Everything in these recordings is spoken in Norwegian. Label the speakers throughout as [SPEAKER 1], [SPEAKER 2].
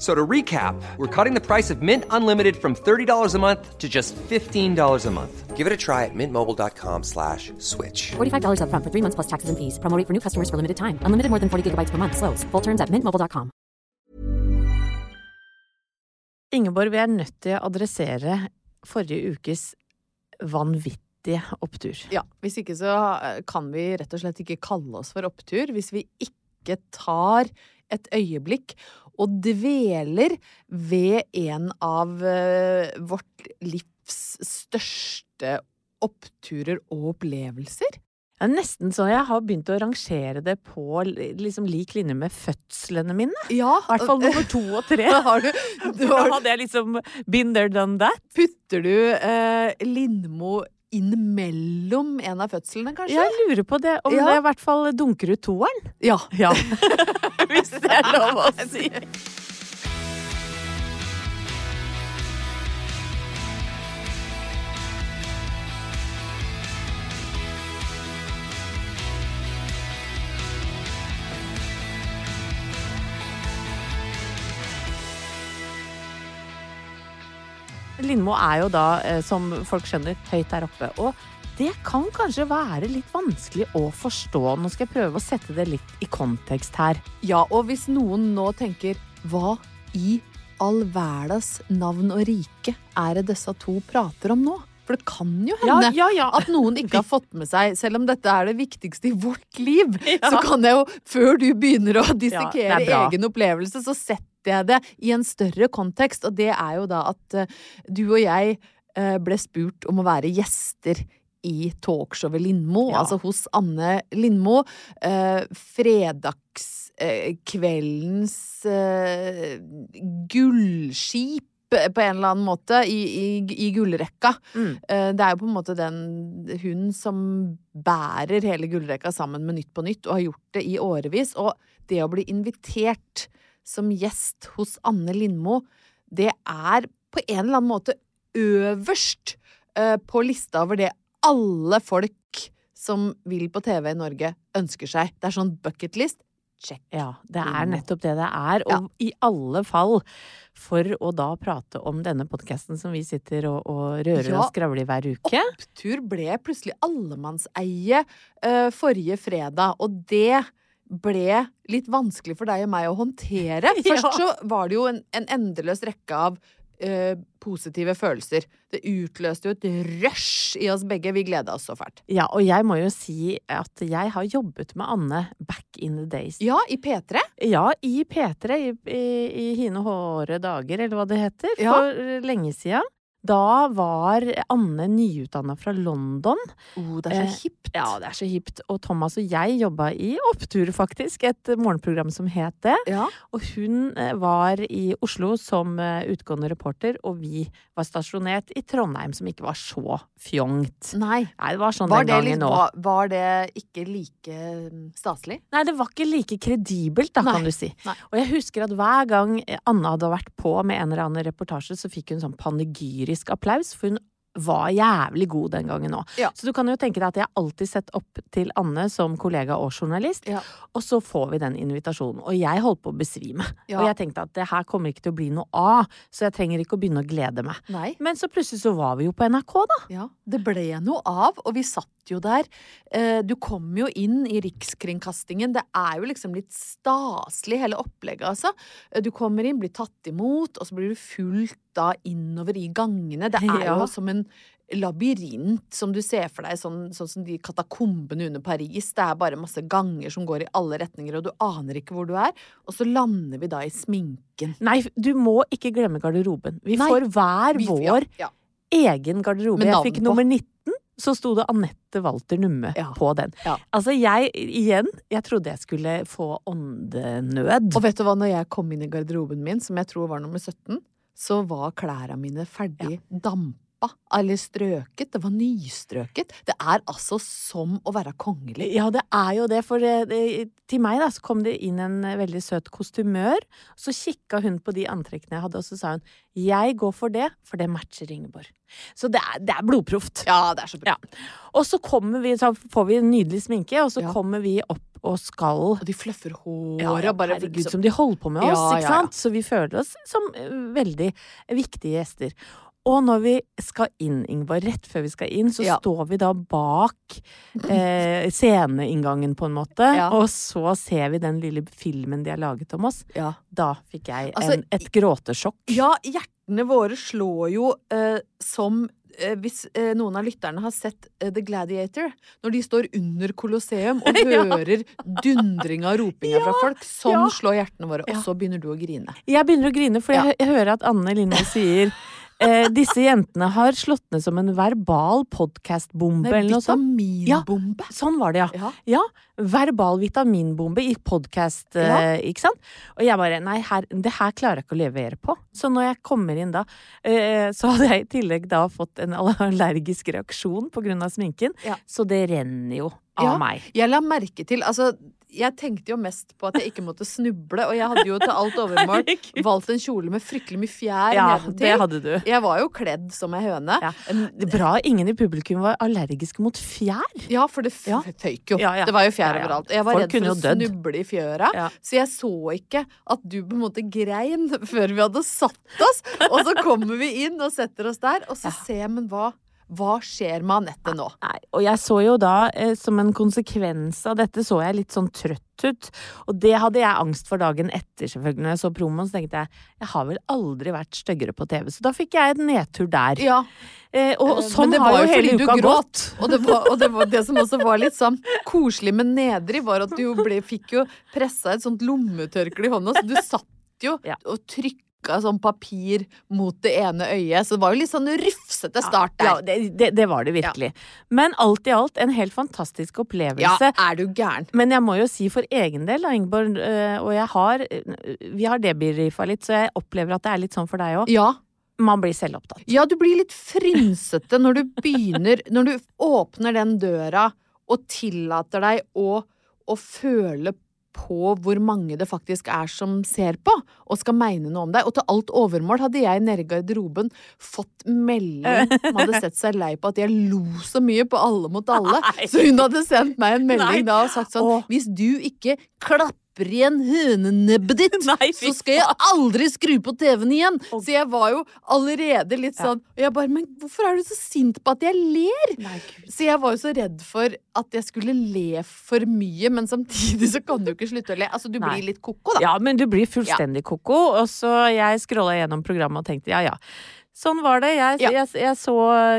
[SPEAKER 1] So to recap, we're cutting the price of Mint Unlimited from $30 a month to just $15 a month. Give it a try at mintmobile.com slash switch.
[SPEAKER 2] $45 upfront for three months plus taxes and fees. Promo rate for new customers for limited time. Unlimited more than 40 gigabytes per month. Slows. Full terms at mintmobile.com.
[SPEAKER 3] Ingeborg, vi er nødt til å adressere forrige ukes vanvittige opptur.
[SPEAKER 4] Ja, hvis ikke så eh, kan vi rett og slett ikke kalle oss for opptur hvis vi ikke tar et øyeblikk og dveler ved en av eh, vårt livs største oppturer og opplevelser.
[SPEAKER 3] Det er nesten så jeg har begynt å rangere det på li- liksom lik linje med fødslene mine.
[SPEAKER 4] Ja,
[SPEAKER 3] I hvert fall nummer to og tre.
[SPEAKER 4] Har du, du
[SPEAKER 3] Da
[SPEAKER 4] har,
[SPEAKER 3] hadde jeg liksom been there, done that.
[SPEAKER 4] putter du eh, Lindmo inn mellom en av fødslene, kanskje?
[SPEAKER 3] Jeg lurer på det, om
[SPEAKER 4] Ja.
[SPEAKER 3] det i hvert fall dunker ut toeren.
[SPEAKER 4] Ja.
[SPEAKER 3] Ja. Hvis det er lov å si. Lindmo er jo da, eh, som folk skjønner, høyt der oppe. Og det kan kanskje være litt vanskelig å forstå. Nå skal jeg prøve å sette det litt i kontekst her.
[SPEAKER 4] Ja, og hvis noen nå tenker Hva i all verdens navn og rike er det disse to prater om nå? For det kan jo hende
[SPEAKER 3] ja, ja.
[SPEAKER 4] at noen ikke har fått med seg Selv om dette er det viktigste i vårt liv,
[SPEAKER 3] Ja.
[SPEAKER 4] så kan jeg jo, før du begynner å dissekere
[SPEAKER 3] bra.
[SPEAKER 4] egen opplevelse, så setter jeg det i en større kontekst, og det er jo da at eh, du og jeg eh, ble spurt om å være gjester i talkshowet Lindmo,
[SPEAKER 3] Ja.
[SPEAKER 4] altså hos Anne Lindmo. Eh, fredagskveldens eh, kveldens, eh, gullskip, på en eller annen måte, i, i, i gullrekka.
[SPEAKER 3] Mm.
[SPEAKER 4] Eh, det er jo på en måte den hun som bærer hele gullrekka sammen med Nytt på Nytt, og har gjort det i årevis. Og det å bli invitert som gjest hos Anne Lindmo, det er på en eller annen måte øverst eh, på lista over det alle folk som vil på TV i Norge, ønsker seg. Det er sånn bucketlist. Check.
[SPEAKER 3] Ja, det er
[SPEAKER 4] Lindmo.
[SPEAKER 3] nettopp det det er. Og i alle fall for å da prate om denne podkasten som vi sitter og, og rører
[SPEAKER 4] Ja.
[SPEAKER 3] og skravler i hver uke.
[SPEAKER 4] Opptur ble plutselig allemannseie eh, forrige fredag, og det ble litt vanskelig for deg og meg å håndtere.
[SPEAKER 3] Ja.
[SPEAKER 4] Først så var det jo en, en endeløs rekke av eh, positive følelser. Det utløste jo et rush i oss begge. Vi gleda oss så fælt.
[SPEAKER 3] Ja, og jeg må jo si at jeg har jobbet med Anne back in the days.
[SPEAKER 4] Ja, i P3.
[SPEAKER 3] Ja, i P3, i, i, i hine håre dager, eller hva det heter,
[SPEAKER 4] Ja.
[SPEAKER 3] for lenge siden. Da var Anne nyutdanna fra London.
[SPEAKER 4] Oh, det er
[SPEAKER 3] Eh,
[SPEAKER 4] så hipt.
[SPEAKER 3] Ja, det er så hipt. Og Thomas og jeg jobba i Opptur, faktisk. Et morgenprogram som het det.
[SPEAKER 4] Ja.
[SPEAKER 3] Og hun eh, var i Oslo som eh, utgående reporter, og vi var stasjonert i Trondheim, som ikke var så fjongt.
[SPEAKER 4] Nei.
[SPEAKER 3] Nei, det var sånn
[SPEAKER 4] Mm. Var
[SPEAKER 3] den
[SPEAKER 4] det,
[SPEAKER 3] gangen
[SPEAKER 4] litt,
[SPEAKER 3] nå.
[SPEAKER 4] var, var det ikke like mm, staselig?
[SPEAKER 3] Nei, det var ikke like kredibelt, da,
[SPEAKER 4] Nei,
[SPEAKER 3] kan du si.
[SPEAKER 4] nei.
[SPEAKER 3] Og jeg husker at hver gang Anna hadde vært på med en eller annen reportasje, så fikk hun sånn panegyrisk applaus, for hun var jævlig god den gangen òg.
[SPEAKER 4] Ja.
[SPEAKER 3] Så du kan jo tenke deg at jeg har alltid sett opp til Anne som kollega og journalist,
[SPEAKER 4] Ja.
[SPEAKER 3] og så får vi den invitasjonen. Og jeg holdt på å besvime.
[SPEAKER 4] Ja.
[SPEAKER 3] Og jeg tenkte at det her kommer ikke til å bli noe av, så jeg trenger ikke å begynne å glede meg.
[SPEAKER 4] Nei.
[SPEAKER 3] Men så plutselig så var vi jo på NRK, da.
[SPEAKER 4] Ja, det ble noe av, og vi satt jo der. Eh, Du kom jo inn i Rikskringkastingen. Det er jo liksom litt staselig, hele opplegget, altså. Eh, Du kommer inn, blir tatt imot, og så blir du fulgt da innover i gangene. Det er
[SPEAKER 3] Ja.
[SPEAKER 4] jo som en labyrint som du ser for deg, sånn, sånn som de katakombene under Paris. Det er bare masse ganger som går i alle retninger, og du aner ikke hvor du er. Og så lander vi da i sminken.
[SPEAKER 3] Nei, du må ikke glemme garderoben. Vi
[SPEAKER 4] Nei.
[SPEAKER 3] får hver
[SPEAKER 4] Vi- ja,
[SPEAKER 3] vår
[SPEAKER 4] ja.
[SPEAKER 3] egen garderobe.
[SPEAKER 4] Med
[SPEAKER 3] Jeg
[SPEAKER 4] navn
[SPEAKER 3] fikk
[SPEAKER 4] på.
[SPEAKER 3] nummer 19, så sto det Anette Walter Numme
[SPEAKER 4] Ja.
[SPEAKER 3] på den.
[SPEAKER 4] Ja.
[SPEAKER 3] Altså, jeg igjen Jeg trodde jeg skulle få åndenød.
[SPEAKER 4] Og vet du hva, når jeg kom inn i garderoben min, som jeg tror var nummer 17, så var klærne mine ferdig dampa eller strøket. Det var nystrøket. Det er altså som å være kongelig.
[SPEAKER 3] Ja, det er jo det, for det, det, til meg da, så kom det inn en eh, veldig søt kostymør. Så kikka hun på de antrekkene jeg hadde, og så sa hun 'jeg går for det, for det matcher Ingeborg'. Så det er, det er blodproft.
[SPEAKER 4] Ja, det er så bra.
[SPEAKER 3] Ja. Og så kommer vi, så får vi en nydelig sminke, og så
[SPEAKER 4] Ja.
[SPEAKER 3] kommer vi opp og skal
[SPEAKER 4] Og de fluffer håret
[SPEAKER 3] Ja, ja,
[SPEAKER 4] og bare
[SPEAKER 3] herregud, som de holder på med oss,
[SPEAKER 4] Ja, ja,
[SPEAKER 3] ikke
[SPEAKER 4] ja.
[SPEAKER 3] sant? Så vi føler oss som eh, veldig viktige gjester. Og når vi skal inn, Ingeborg, rett før vi skal inn, så
[SPEAKER 4] Ja.
[SPEAKER 3] står vi da bak eh, sceneinngangen, på en måte.
[SPEAKER 4] Ja.
[SPEAKER 3] Og så ser vi den lille filmen de har laget om oss.
[SPEAKER 4] Ja.
[SPEAKER 3] Da fikk jeg
[SPEAKER 4] Altså,
[SPEAKER 3] en, et gråtesjokk.
[SPEAKER 4] Ja, hjertene våre slår jo eh, som eh, hvis eh, noen av lytterne har sett eh, The Gladiator, når de står under Colosseum og hører dundringa og ropinga fra folk, sånn
[SPEAKER 3] ja.
[SPEAKER 4] slår hjertene våre,
[SPEAKER 3] Ja.
[SPEAKER 4] og så begynner du å grine.
[SPEAKER 3] Jeg begynner å grine, for jeg, hø- jeg hører at Anne Lindmo sier eh, disse jentene har slått ned som en verbal
[SPEAKER 4] Nei,
[SPEAKER 3] podkastbombe eller noe sånt.
[SPEAKER 4] Vitaminbombe.
[SPEAKER 3] Sånn var det, ja.
[SPEAKER 4] Ja.
[SPEAKER 3] Ja, verbal vitaminbombe i podkast, eh, ikke sant? Og jeg bare nei, her, det her klarer jeg ikke å levere på. Så når jeg kommer inn da, eh, så hadde jeg i tillegg da fått en allergisk reaksjon på grunn av sminken,
[SPEAKER 4] Ja.
[SPEAKER 3] så det renner jo av
[SPEAKER 4] Ja.
[SPEAKER 3] meg.
[SPEAKER 4] Jeg la merke til Altså, jeg tenkte jo mest på at jeg ikke måtte snuble, og jeg hadde jo til alt overmål
[SPEAKER 3] Herregud.
[SPEAKER 4] valgt en kjole med fryktelig mye fjær
[SPEAKER 3] Ja, det
[SPEAKER 4] nedentil.
[SPEAKER 3] hadde du.
[SPEAKER 4] Jeg var jo kledd som ei høne.
[SPEAKER 3] Ja.
[SPEAKER 4] Um,
[SPEAKER 3] Bra ingen i publikum var allergisk mot fjær.
[SPEAKER 4] Ja, for det f
[SPEAKER 3] Ja.
[SPEAKER 4] føyk jo.
[SPEAKER 3] Ja, ja.
[SPEAKER 4] Det var jo fjær
[SPEAKER 3] Ja, ja.
[SPEAKER 4] overalt. Jeg var
[SPEAKER 3] Folk
[SPEAKER 4] redd
[SPEAKER 3] kunne
[SPEAKER 4] for å
[SPEAKER 3] jo dødd.
[SPEAKER 4] snuble i fjøra,
[SPEAKER 3] Ja.
[SPEAKER 4] så jeg så ikke at du på en måte grein før vi hadde satt oss. Og så kommer vi inn og setter oss der, og så ser jeg, men hva, hva skjer med
[SPEAKER 3] Ah.
[SPEAKER 4] Anette nå?
[SPEAKER 3] Nei, og jeg så jo da, eh, som en konsekvens av dette, så jeg litt sånn trøtt ut. Og det hadde jeg angst for dagen etter, selvfølgelig. Når jeg så promoen, så tenkte jeg jeg har vel aldri vært styggere på TV. Så da fikk jeg en nedtur der.
[SPEAKER 4] Ja,
[SPEAKER 3] Eh, og
[SPEAKER 4] Eh,
[SPEAKER 3] sånn
[SPEAKER 4] men det
[SPEAKER 3] har
[SPEAKER 4] var
[SPEAKER 3] jo
[SPEAKER 4] jo
[SPEAKER 3] hele
[SPEAKER 4] fordi du
[SPEAKER 3] uka gått.
[SPEAKER 4] gråt. Og det, var, og det, var, det som også var litt sånn koselig, men nedrig, var at du jo ble, fikk jo pressa et sånt lommetørkle i hånda, så du satt jo
[SPEAKER 3] Ja.
[SPEAKER 4] og trykka sånn papir mot det ene øyet, så det var jo litt sånn rufsete start
[SPEAKER 3] Ja,
[SPEAKER 4] der.
[SPEAKER 3] det, det, det var det virkelig. Men alt i alt en helt fantastisk
[SPEAKER 4] Ja,
[SPEAKER 3] opplevelse.
[SPEAKER 4] er du gæren?
[SPEAKER 3] Men jeg må jo si for egen del, da, Ingeborg, eh, og jeg har eh, Vi har debrifa litt, så jeg opplever at det er litt sånn for deg òg.
[SPEAKER 4] Ja.
[SPEAKER 3] Man blir selvopptatt.
[SPEAKER 4] ja, du blir litt frynsete når du begynner Når du åpner den døra og tillater deg å, å føle på hvor mange det faktisk er som ser på, og skal mene noe om deg. Og til alt overmål hadde jeg nede i garderoben fått melding som hadde sett seg lei på at jeg lo så mye på Alle mot alle.
[SPEAKER 3] Nei.
[SPEAKER 4] Så hun hadde sendt meg en melding
[SPEAKER 3] Nei.
[SPEAKER 4] da og sagt sånn
[SPEAKER 3] Åh.
[SPEAKER 4] Hvis du ikke klapper igjen hønenebbet ditt,
[SPEAKER 3] Nei, fy
[SPEAKER 4] så skal jeg aldri skru på TV-en igjen.
[SPEAKER 3] Og-
[SPEAKER 4] Så jeg var jo allerede litt sånn Og jeg bare Men hvorfor er du så sint på at jeg ler?
[SPEAKER 3] Nei, Gud.
[SPEAKER 4] Så jeg var jo så redd for at jeg skulle le for mye, men samtidig så kan du ikke slutte å le. Altså, du
[SPEAKER 3] Nei.
[SPEAKER 4] blir litt ko-ko, da.
[SPEAKER 3] Ja, men du blir fullstendig koko. Og så jeg scrolla gjennom programmet og tenkte ja, ja. Sånn var det. Jeg,
[SPEAKER 4] Ja.
[SPEAKER 3] jeg, jeg så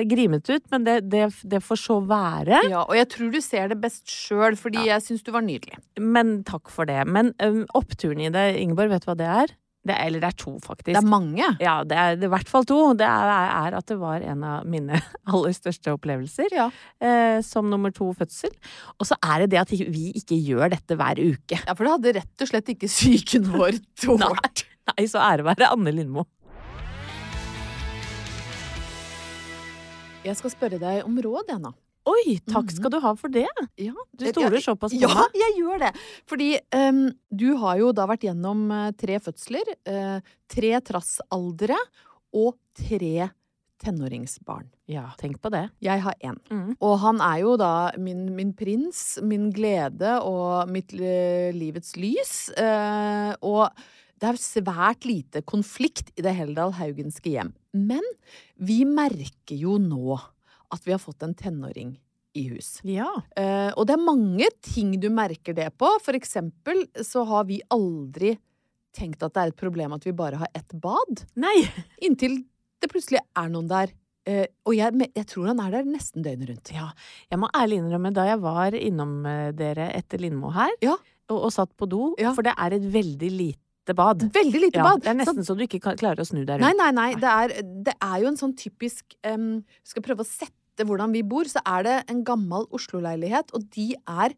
[SPEAKER 3] grimet ut, men det, det, det får så være.
[SPEAKER 4] Ja, og jeg tror du ser det best sjøl, fordi jeg syns du var nydelig.
[SPEAKER 3] Men takk for det. Men ø, oppturen i det, Ingeborg, vet du hva det er? Det, er- eller det er to, faktisk.
[SPEAKER 4] Det er mange.
[SPEAKER 3] Ja, det er det er i hvert fall to. Det er, er at det var en av mine aller største opplevelser.
[SPEAKER 4] Ja.
[SPEAKER 3] Eh, som nummer to fødsel. Og så er det det at ikke- vi ikke gjør dette hver uke.
[SPEAKER 4] Ja, for det hadde rett og slett ikke psyken vår tålt.
[SPEAKER 3] Nei, så ære være Anne Lindmo.
[SPEAKER 4] Jeg skal spørre deg om råd, jeg nå.
[SPEAKER 3] Oi, takk skal du ha for det.
[SPEAKER 4] Ja,
[SPEAKER 3] Du stoler
[SPEAKER 4] jeg-
[SPEAKER 3] såpass på
[SPEAKER 4] ja,
[SPEAKER 3] meg.
[SPEAKER 4] jeg gjør det. Fordi em, du har jo da vært gjennom eh, tre fødsler, eh, tre trassaldre og tre tenåringsbarn.
[SPEAKER 3] Ja, tenk på det.
[SPEAKER 4] Jeg har én.
[SPEAKER 3] Mm.
[SPEAKER 4] Og han er jo da min, min prins, min glede og mitt eh, livets lys. eh, og det er svært lite konflikt i det Heldal Haugenske hjem. Men vi merker jo nå at vi har fått en tenåring i hus.
[SPEAKER 3] Ja.
[SPEAKER 4] Eh, og det er mange ting du merker det på. For eksempel så har vi aldri tenkt at det er et problem at vi bare har ett bad,
[SPEAKER 3] Nei.
[SPEAKER 4] inntil det plutselig er noen der. Eh, og jeg, men jeg tror han er der nesten døgnet rundt.
[SPEAKER 3] Ja, jeg må ærlig innrømme, da jeg var innom eh, dere etter Lindmo her,
[SPEAKER 4] Ja.
[SPEAKER 3] og, og satt på do,
[SPEAKER 4] Ja.
[SPEAKER 3] for det er et veldig lite bad.
[SPEAKER 4] Veldig lite
[SPEAKER 3] Ja,
[SPEAKER 4] bad.
[SPEAKER 3] det er
[SPEAKER 4] Så-
[SPEAKER 3] nesten så du ikke kan- klarer å snu deg
[SPEAKER 4] Nei,
[SPEAKER 3] rundt.
[SPEAKER 4] nei, nei. Det er, det er jo en sånn typisk em, Skal prøve å sette hvordan vi bor, så er det en gammel Oslo-leilighet, og de er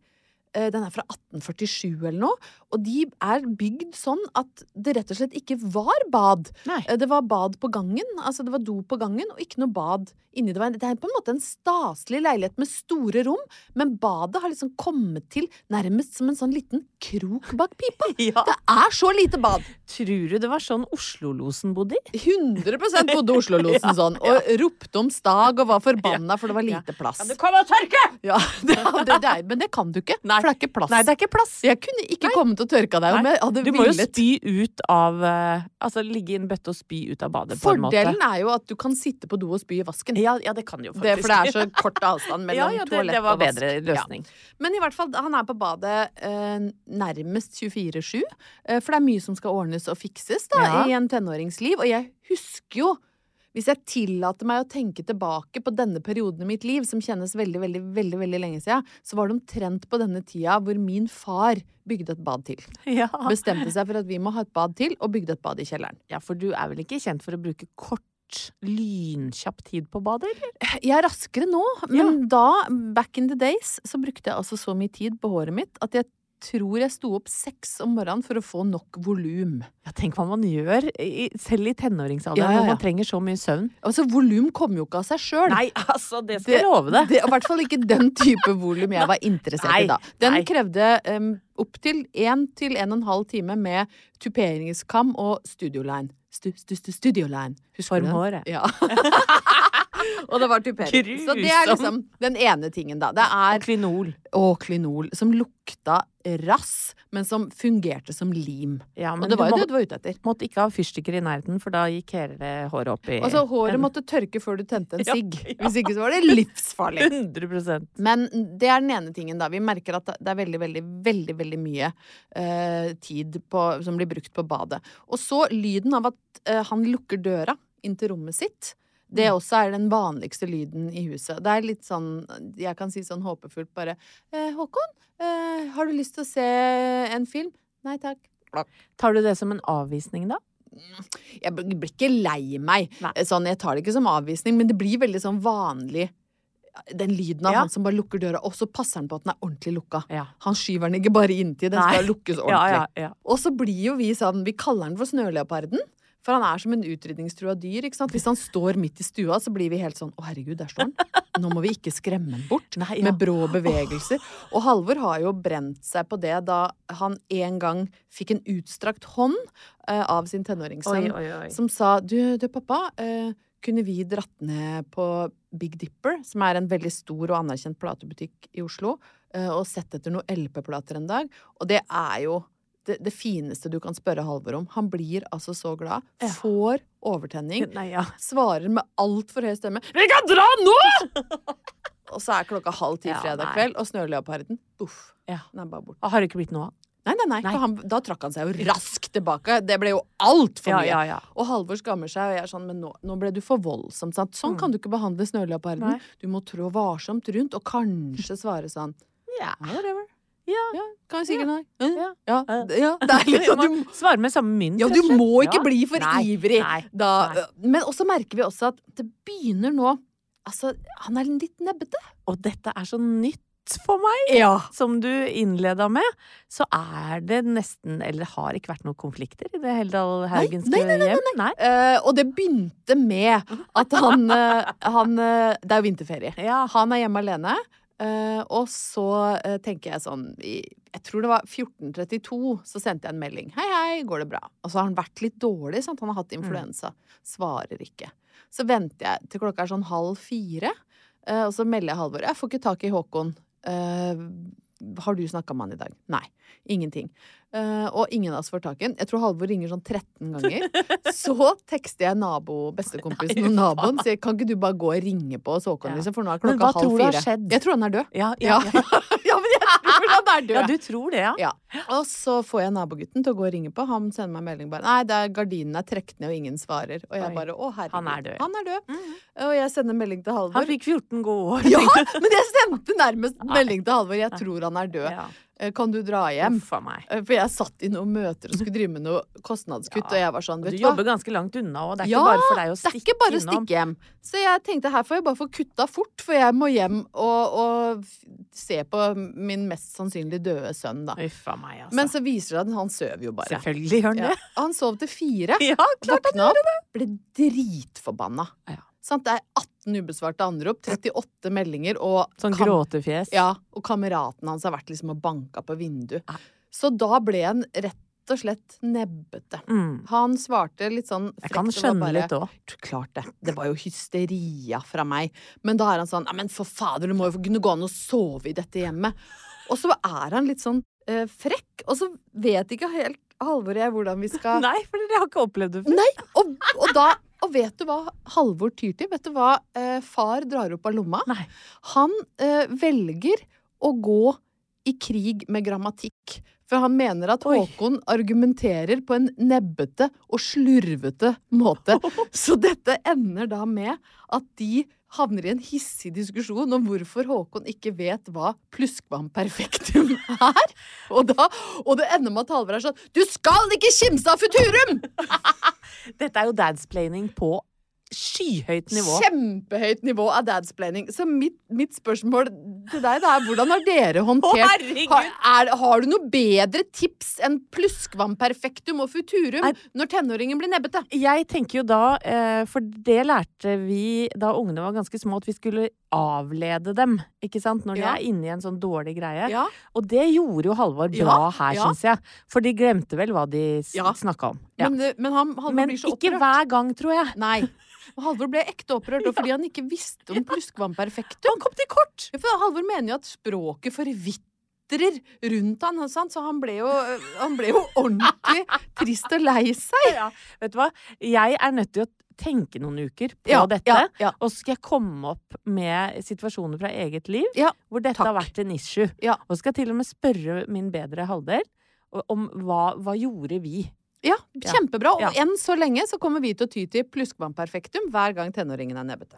[SPEAKER 4] eh, den er fra 1847 eller noe, og de er bygd sånn at det rett og slett ikke var bad.
[SPEAKER 3] Nei.
[SPEAKER 4] Eh, Det var bad på gangen, altså det var do på gangen, og ikke noe bad inni. Det, var en, det er på en måte en staselig leilighet med store rom, men badet har liksom kommet til nærmest som en sånn liten krok bak pipa.
[SPEAKER 3] Ja.
[SPEAKER 4] Det er så lite bad!
[SPEAKER 3] Eh, Tror du det var sånn Oslo-losen bodde i?
[SPEAKER 4] 100 bodde Oslo-losen sånn, og ropte om stag og var forbanna for det var lite plass.
[SPEAKER 3] kommer og tørker!
[SPEAKER 4] Ja, det, det, det er, men det kan du ikke, for det er ikke plass.
[SPEAKER 3] Nei, det er ikke plass.
[SPEAKER 4] Jeg kunne ikke kommet og tørka deg om
[SPEAKER 3] Nei,
[SPEAKER 4] jeg hadde
[SPEAKER 3] Du må jo
[SPEAKER 4] villet.
[SPEAKER 3] spy ut av eh, Altså ligge i en bøtte og spy ut av badet, på en måte.
[SPEAKER 4] Fordelen er jo at du kan sitte på do og spy i vasken.
[SPEAKER 3] ja, ja, det kan jo
[SPEAKER 4] Det,
[SPEAKER 3] faktisk
[SPEAKER 4] for det er så kort avstand mellom
[SPEAKER 3] ja, ja, det,
[SPEAKER 4] toalett
[SPEAKER 3] det var
[SPEAKER 4] og vask.
[SPEAKER 3] bedre løsning.
[SPEAKER 4] Ja. Men i hvert fall, han er på badet eh, nærmest 24-7, eh, for det er mye som skal ordnes og fikses da,
[SPEAKER 3] Ja.
[SPEAKER 4] i en tenåringsliv. Og jeg husker jo, hvis jeg tillater meg å tenke tilbake på denne perioden i mitt liv, som kjennes veldig, veldig, veldig, veldig lenge siden, så var det omtrent på denne tida hvor min far bygde et bad til.
[SPEAKER 3] Ja.
[SPEAKER 4] Bestemte seg for at vi må ha et bad til, og bygde et bad i kjelleren.
[SPEAKER 3] for du er vel ikke kjent for å bruke kort, lynkjapp tid på badet, eller?
[SPEAKER 4] Jeg er raskere nå, men da, back in the days, så brukte jeg altså så mye tid på håret mitt at jeg tror jeg sto opp seks om morgenen for å få nok volum.
[SPEAKER 3] Ja, tenk hva man gjør, i, selv i tenåringsalderen,
[SPEAKER 4] Ja, ja,
[SPEAKER 3] hvor
[SPEAKER 4] ja.
[SPEAKER 3] man trenger så mye søvn.
[SPEAKER 4] Altså, volum kom jo ikke av seg sjøl.
[SPEAKER 3] Nei, altså, det skal jeg love deg.
[SPEAKER 4] Det er I hvert fall ikke den type volum jeg var interessert
[SPEAKER 3] Nei,
[SPEAKER 4] i da. Den
[SPEAKER 3] nei.
[SPEAKER 4] krevde um, opptil én til en og en halv time med tuperingskam og studioline. Stu, stu, stu, studioline. Husker du den?
[SPEAKER 3] Formhåret.
[SPEAKER 4] Ja. og det var tupering. Så det er
[SPEAKER 3] Grusom.
[SPEAKER 4] liksom den ene tingen, da. Det er
[SPEAKER 3] Kvinol.
[SPEAKER 4] og klinol, som lukta rass, men som fungerte som lim.
[SPEAKER 3] Ja,
[SPEAKER 4] og
[SPEAKER 3] men
[SPEAKER 4] det var
[SPEAKER 3] du
[SPEAKER 4] jo
[SPEAKER 3] må,
[SPEAKER 4] det du var ute etter.
[SPEAKER 3] måtte ikke ha fyrstikker i nærheten, for da gikk hele håret opp i
[SPEAKER 4] Altså, håret måtte tørke før du tente en
[SPEAKER 3] Ja,
[SPEAKER 4] sigg.
[SPEAKER 3] ja.
[SPEAKER 4] Hvis ikke så var det livsfarlig.
[SPEAKER 3] 100
[SPEAKER 4] Men det er den ene tingen, da. Vi merker at det er veldig, veldig, veldig veldig mye eh, tid på, som blir brukt på badet. Og så lyden av at eh, han lukker døra inn til rommet sitt. Det
[SPEAKER 3] Mm.
[SPEAKER 4] også er den vanligste lyden i huset. Det er litt sånn, jeg kan si sånn håpefullt bare eh, 'Håkon, eh, har du lyst til å se en film?' Nei takk.
[SPEAKER 3] Tar du det som en avvisning, da?
[SPEAKER 4] Jeg bl- blir ikke lei meg.
[SPEAKER 3] Nei.
[SPEAKER 4] Eh, Sånn, jeg tar det ikke som avvisning, men det blir veldig sånn vanlig. eh, Den lyden av
[SPEAKER 3] Ja.
[SPEAKER 4] han som bare lukker døra, og så passer han på at den er ordentlig lukka.
[SPEAKER 3] Ja.
[SPEAKER 4] Han skyver den ikke bare inntil, den skal lukkes
[SPEAKER 3] Ja,
[SPEAKER 4] ordentlig.
[SPEAKER 3] ja, ja.
[SPEAKER 4] Og så blir jo vi sånn, vi kaller den for snøleoparden. For han er som en utrydningstrua dyr. ikke sant? Hvis han står midt i stua, så blir vi helt sånn Å, herregud, der står han. Nå må vi ikke skremme han bort
[SPEAKER 3] Nei, ja.
[SPEAKER 4] med brå bevegelser. Og Halvor har jo brent seg på det da han en gang fikk en utstrakt hånd eh, av sin
[SPEAKER 3] Oi,
[SPEAKER 4] tenåringssønn,
[SPEAKER 3] oi, oi.
[SPEAKER 4] som sa Du, du pappa, eh, kunne vi dratt ned på Big Dipper, som er en veldig stor og anerkjent platebutikk i Oslo, eh, og sett etter noen LP-plater en dag? Og det er jo det, det fineste du kan spørre Halvor om. Han blir altså så glad.
[SPEAKER 3] Ja.
[SPEAKER 4] Får overtenning.
[SPEAKER 3] Nei, ja.
[SPEAKER 4] Svarer med altfor høy stemme 'Vi kan dra nå!' og så er klokka halv ti
[SPEAKER 3] Ja,
[SPEAKER 4] fredag
[SPEAKER 3] nei.
[SPEAKER 4] kveld, og snøleoparden Uff.
[SPEAKER 3] Ja.
[SPEAKER 4] Den er bare borte.
[SPEAKER 3] Og Ah, Har det ikke blitt noe av?
[SPEAKER 4] Nei, nei, nei.
[SPEAKER 3] Nei.
[SPEAKER 4] For han, da trakk han seg jo raskt tilbake. Det ble jo altfor mye.
[SPEAKER 3] ja, ja.
[SPEAKER 4] Og Halvor skammer seg, og jeg er sånn, men nå, nå ble du for voldsom. Sant? Sånn kan du ikke behandle snøleoparden.
[SPEAKER 3] Mm. Nei.
[SPEAKER 4] Du må trå varsomt rundt, og kanskje svare sånn.
[SPEAKER 3] Ja, whatever. Ja.
[SPEAKER 4] ja kan jo sikkert nei.
[SPEAKER 3] Ja.
[SPEAKER 4] Ja.
[SPEAKER 3] Ja.
[SPEAKER 4] d- ja, det er litt sånn du,
[SPEAKER 3] Svare med samme mynt,
[SPEAKER 4] ja,
[SPEAKER 3] rett
[SPEAKER 4] du
[SPEAKER 3] og slett.
[SPEAKER 4] må ikke
[SPEAKER 3] Ja.
[SPEAKER 4] bli for
[SPEAKER 3] Nei,
[SPEAKER 4] ivrig.
[SPEAKER 3] Nei.
[SPEAKER 4] Da,
[SPEAKER 3] nei.
[SPEAKER 4] men også merker vi også at det begynner nå Altså, han er litt nebbete.
[SPEAKER 3] Og dette er så nytt for meg,
[SPEAKER 4] Ja.
[SPEAKER 3] som du innleda med. Så er det nesten Eller det har ikke vært noen konflikter i det Heldal Haugenske
[SPEAKER 4] nei,
[SPEAKER 3] hjem? Nei, nei, nei,
[SPEAKER 4] Eh, og det begynte med at han, eh, han eh, Det er jo vinterferie.
[SPEAKER 3] Ja.
[SPEAKER 4] Han er hjemme alene. eh, og så eh, tenker jeg sånn i, Jeg tror det var 14.32, så sendte jeg en melding. 'Hei, hei, går det bra?' Og så har han vært litt dårlig. Sant? Han
[SPEAKER 3] Mm.
[SPEAKER 4] har hatt influensa. Svarer ikke. Så venter jeg til klokka er sånn halv fire, eh, og så melder jeg Halvor. 'Jeg får ikke tak i Håkon. Eh, har du snakka med han i dag?' Nei. Ingenting. Eh, og ingen av oss får tak i han. Jeg tror Halvor ringer sånn 13 ganger. Så tekster jeg nabo, bestekompisen og naboen sier 'Kan ikke du bare gå og ringe på hos Håkon',
[SPEAKER 3] Ja.
[SPEAKER 4] liksom, for nå er
[SPEAKER 3] Men
[SPEAKER 4] klokka
[SPEAKER 3] hva tror
[SPEAKER 4] halv
[SPEAKER 3] du har
[SPEAKER 4] fire.
[SPEAKER 3] skjedd?
[SPEAKER 4] Jeg tror han er død.
[SPEAKER 3] Ja,
[SPEAKER 4] Ja.
[SPEAKER 3] ja, ja.
[SPEAKER 4] ja, men jeg tror han er død.
[SPEAKER 3] ja, du tror det, ja?
[SPEAKER 4] Ja. Og så får jeg nabogutten til å gå og ringe på. Han sender meg en melding bare 'Nei, det er gardinene er trukket ned, og ingen svarer'. Og jeg
[SPEAKER 3] Oi.
[SPEAKER 4] bare 'Å, herregud'.
[SPEAKER 3] Han er død, ja.
[SPEAKER 4] Han er død. Og jeg sender melding til Halvor.
[SPEAKER 3] Han fikk 14 gode år.
[SPEAKER 4] Ja!
[SPEAKER 3] tenkte jeg.
[SPEAKER 4] Men jeg sendte nærmest melding til Halvor. Jeg tror han er død.
[SPEAKER 3] Ja.
[SPEAKER 4] Eh, Kan du dra hjem?
[SPEAKER 3] Uff a meg.
[SPEAKER 4] Eh, For jeg satt i noen møter og skulle drive med noe kostnadskutt, og jeg var sånn,
[SPEAKER 3] Du
[SPEAKER 4] vet du hva.
[SPEAKER 3] jobber ganske langt unna, og det er
[SPEAKER 4] Ja,
[SPEAKER 3] ikke bare for deg å
[SPEAKER 4] Det er
[SPEAKER 3] stikke
[SPEAKER 4] ikke bare å
[SPEAKER 3] innom.
[SPEAKER 4] stikke hjem. Så jeg tenkte her får jeg bare få kutta fort, for jeg må hjem og, og f- se på min mest sannsynlig døde sønn, da.
[SPEAKER 3] Uff a meg, altså.
[SPEAKER 4] Men så viser det seg at han søv jo bare.
[SPEAKER 3] Selvfølgelig gjør den
[SPEAKER 4] Ja.
[SPEAKER 3] det.
[SPEAKER 4] Han sov til fire.
[SPEAKER 3] Ja, klart at
[SPEAKER 4] Våkna opp, ble dritforbanna.
[SPEAKER 3] Ja.
[SPEAKER 4] Sant? Det er 18 ubesvarte anrop, 38 meldinger, og,
[SPEAKER 3] Sånn
[SPEAKER 4] kam-
[SPEAKER 3] gråtefjes.
[SPEAKER 4] ja, og kameraten hans har vært liksom og banka på vinduet.
[SPEAKER 3] Nei.
[SPEAKER 4] Så da ble han rett og slett nebbete.
[SPEAKER 3] Mm.
[SPEAKER 4] Han svarte litt sånn
[SPEAKER 3] Jeg kan
[SPEAKER 4] frekt og
[SPEAKER 3] skjønne
[SPEAKER 4] var bare-
[SPEAKER 3] litt òg.
[SPEAKER 4] Klart det. Det var jo hysteria fra meg. Men da er han sånn Ja, men for fader, du må jo kunne gå an å sove i dette hjemmet. Og så er han litt sånn eh, frekk, og så vet ikke helt Halvor og jeg hvordan vi skal
[SPEAKER 3] Nei, for dere har ikke opplevd det før.
[SPEAKER 4] Nei! Og, og da Og vet du hva Halvor tyr til? Vet du hva eh, far drar opp av lomma?
[SPEAKER 3] Nei.
[SPEAKER 4] Han eh, velger å gå i krig med grammatikk. For han mener at
[SPEAKER 3] Oi.
[SPEAKER 4] Håkon argumenterer på en nebbete og slurvete måte. Så dette ender da med at de havner i en hissig diskusjon om hvorfor Håkon ikke vet hva pluskvamperfektum er. Og, da, og det ender med at Halvor er sånn Du skal ikke kimse av futurum! Mm.
[SPEAKER 3] Dette er jo dadsplaining på skyhøyt nivå.
[SPEAKER 4] Kjempehøyt nivå av dadsplaining. Så mitt, mitt spørsmål til deg da er hvordan har dere håndtert
[SPEAKER 3] herregud!
[SPEAKER 4] har, er, har du noe bedre tips enn pluskvamperfektum og futurum
[SPEAKER 3] Nei.
[SPEAKER 4] når tenåringen blir nebbete?
[SPEAKER 3] Jeg tenker jo da, eh, for det lærte vi da ungene var ganske små, at vi skulle avlede dem, ikke sant, når de
[SPEAKER 4] Ja.
[SPEAKER 3] er inne i en sånn dårlig greie.
[SPEAKER 4] Ja.
[SPEAKER 3] Og det gjorde jo Halvor bra
[SPEAKER 4] Ja,
[SPEAKER 3] her,
[SPEAKER 4] ja.
[SPEAKER 3] syns jeg. For de glemte vel hva de s-
[SPEAKER 4] Ja.
[SPEAKER 3] snakka om. Ja.
[SPEAKER 4] Men, det- men han, han
[SPEAKER 3] Men
[SPEAKER 4] blir så
[SPEAKER 3] ikke
[SPEAKER 4] opprørt.
[SPEAKER 3] hver gang, tror jeg.
[SPEAKER 4] Nei. Og Halvor ble ekte opprørt, og fordi han ikke visste om pluskvamperfektum.
[SPEAKER 3] Han kom til kort!
[SPEAKER 4] Ja, For Halvor mener jo at språket forvitrer rundt han, sant? så han ble, jo, eh, han ble jo ordentlig trist og lei seg.
[SPEAKER 3] Vet du hva, jeg er nødt til å tenke noen uker på
[SPEAKER 4] Ja,
[SPEAKER 3] dette.
[SPEAKER 4] ja, ja.
[SPEAKER 3] Og så skal jeg komme opp med situasjoner fra eget liv
[SPEAKER 4] Ja,
[SPEAKER 3] hvor dette
[SPEAKER 4] takk.
[SPEAKER 3] har vært en issue.
[SPEAKER 4] Ja.
[SPEAKER 3] Og skal til og med spørre min bedre halvdel o- om hva, hva gjorde vi
[SPEAKER 4] Ja,
[SPEAKER 3] Ja.
[SPEAKER 4] kjempebra. Og
[SPEAKER 3] Ja.
[SPEAKER 4] enn så lenge så kommer vi til å ty til pluskvannperfektum hver gang tenåringen er nebbete.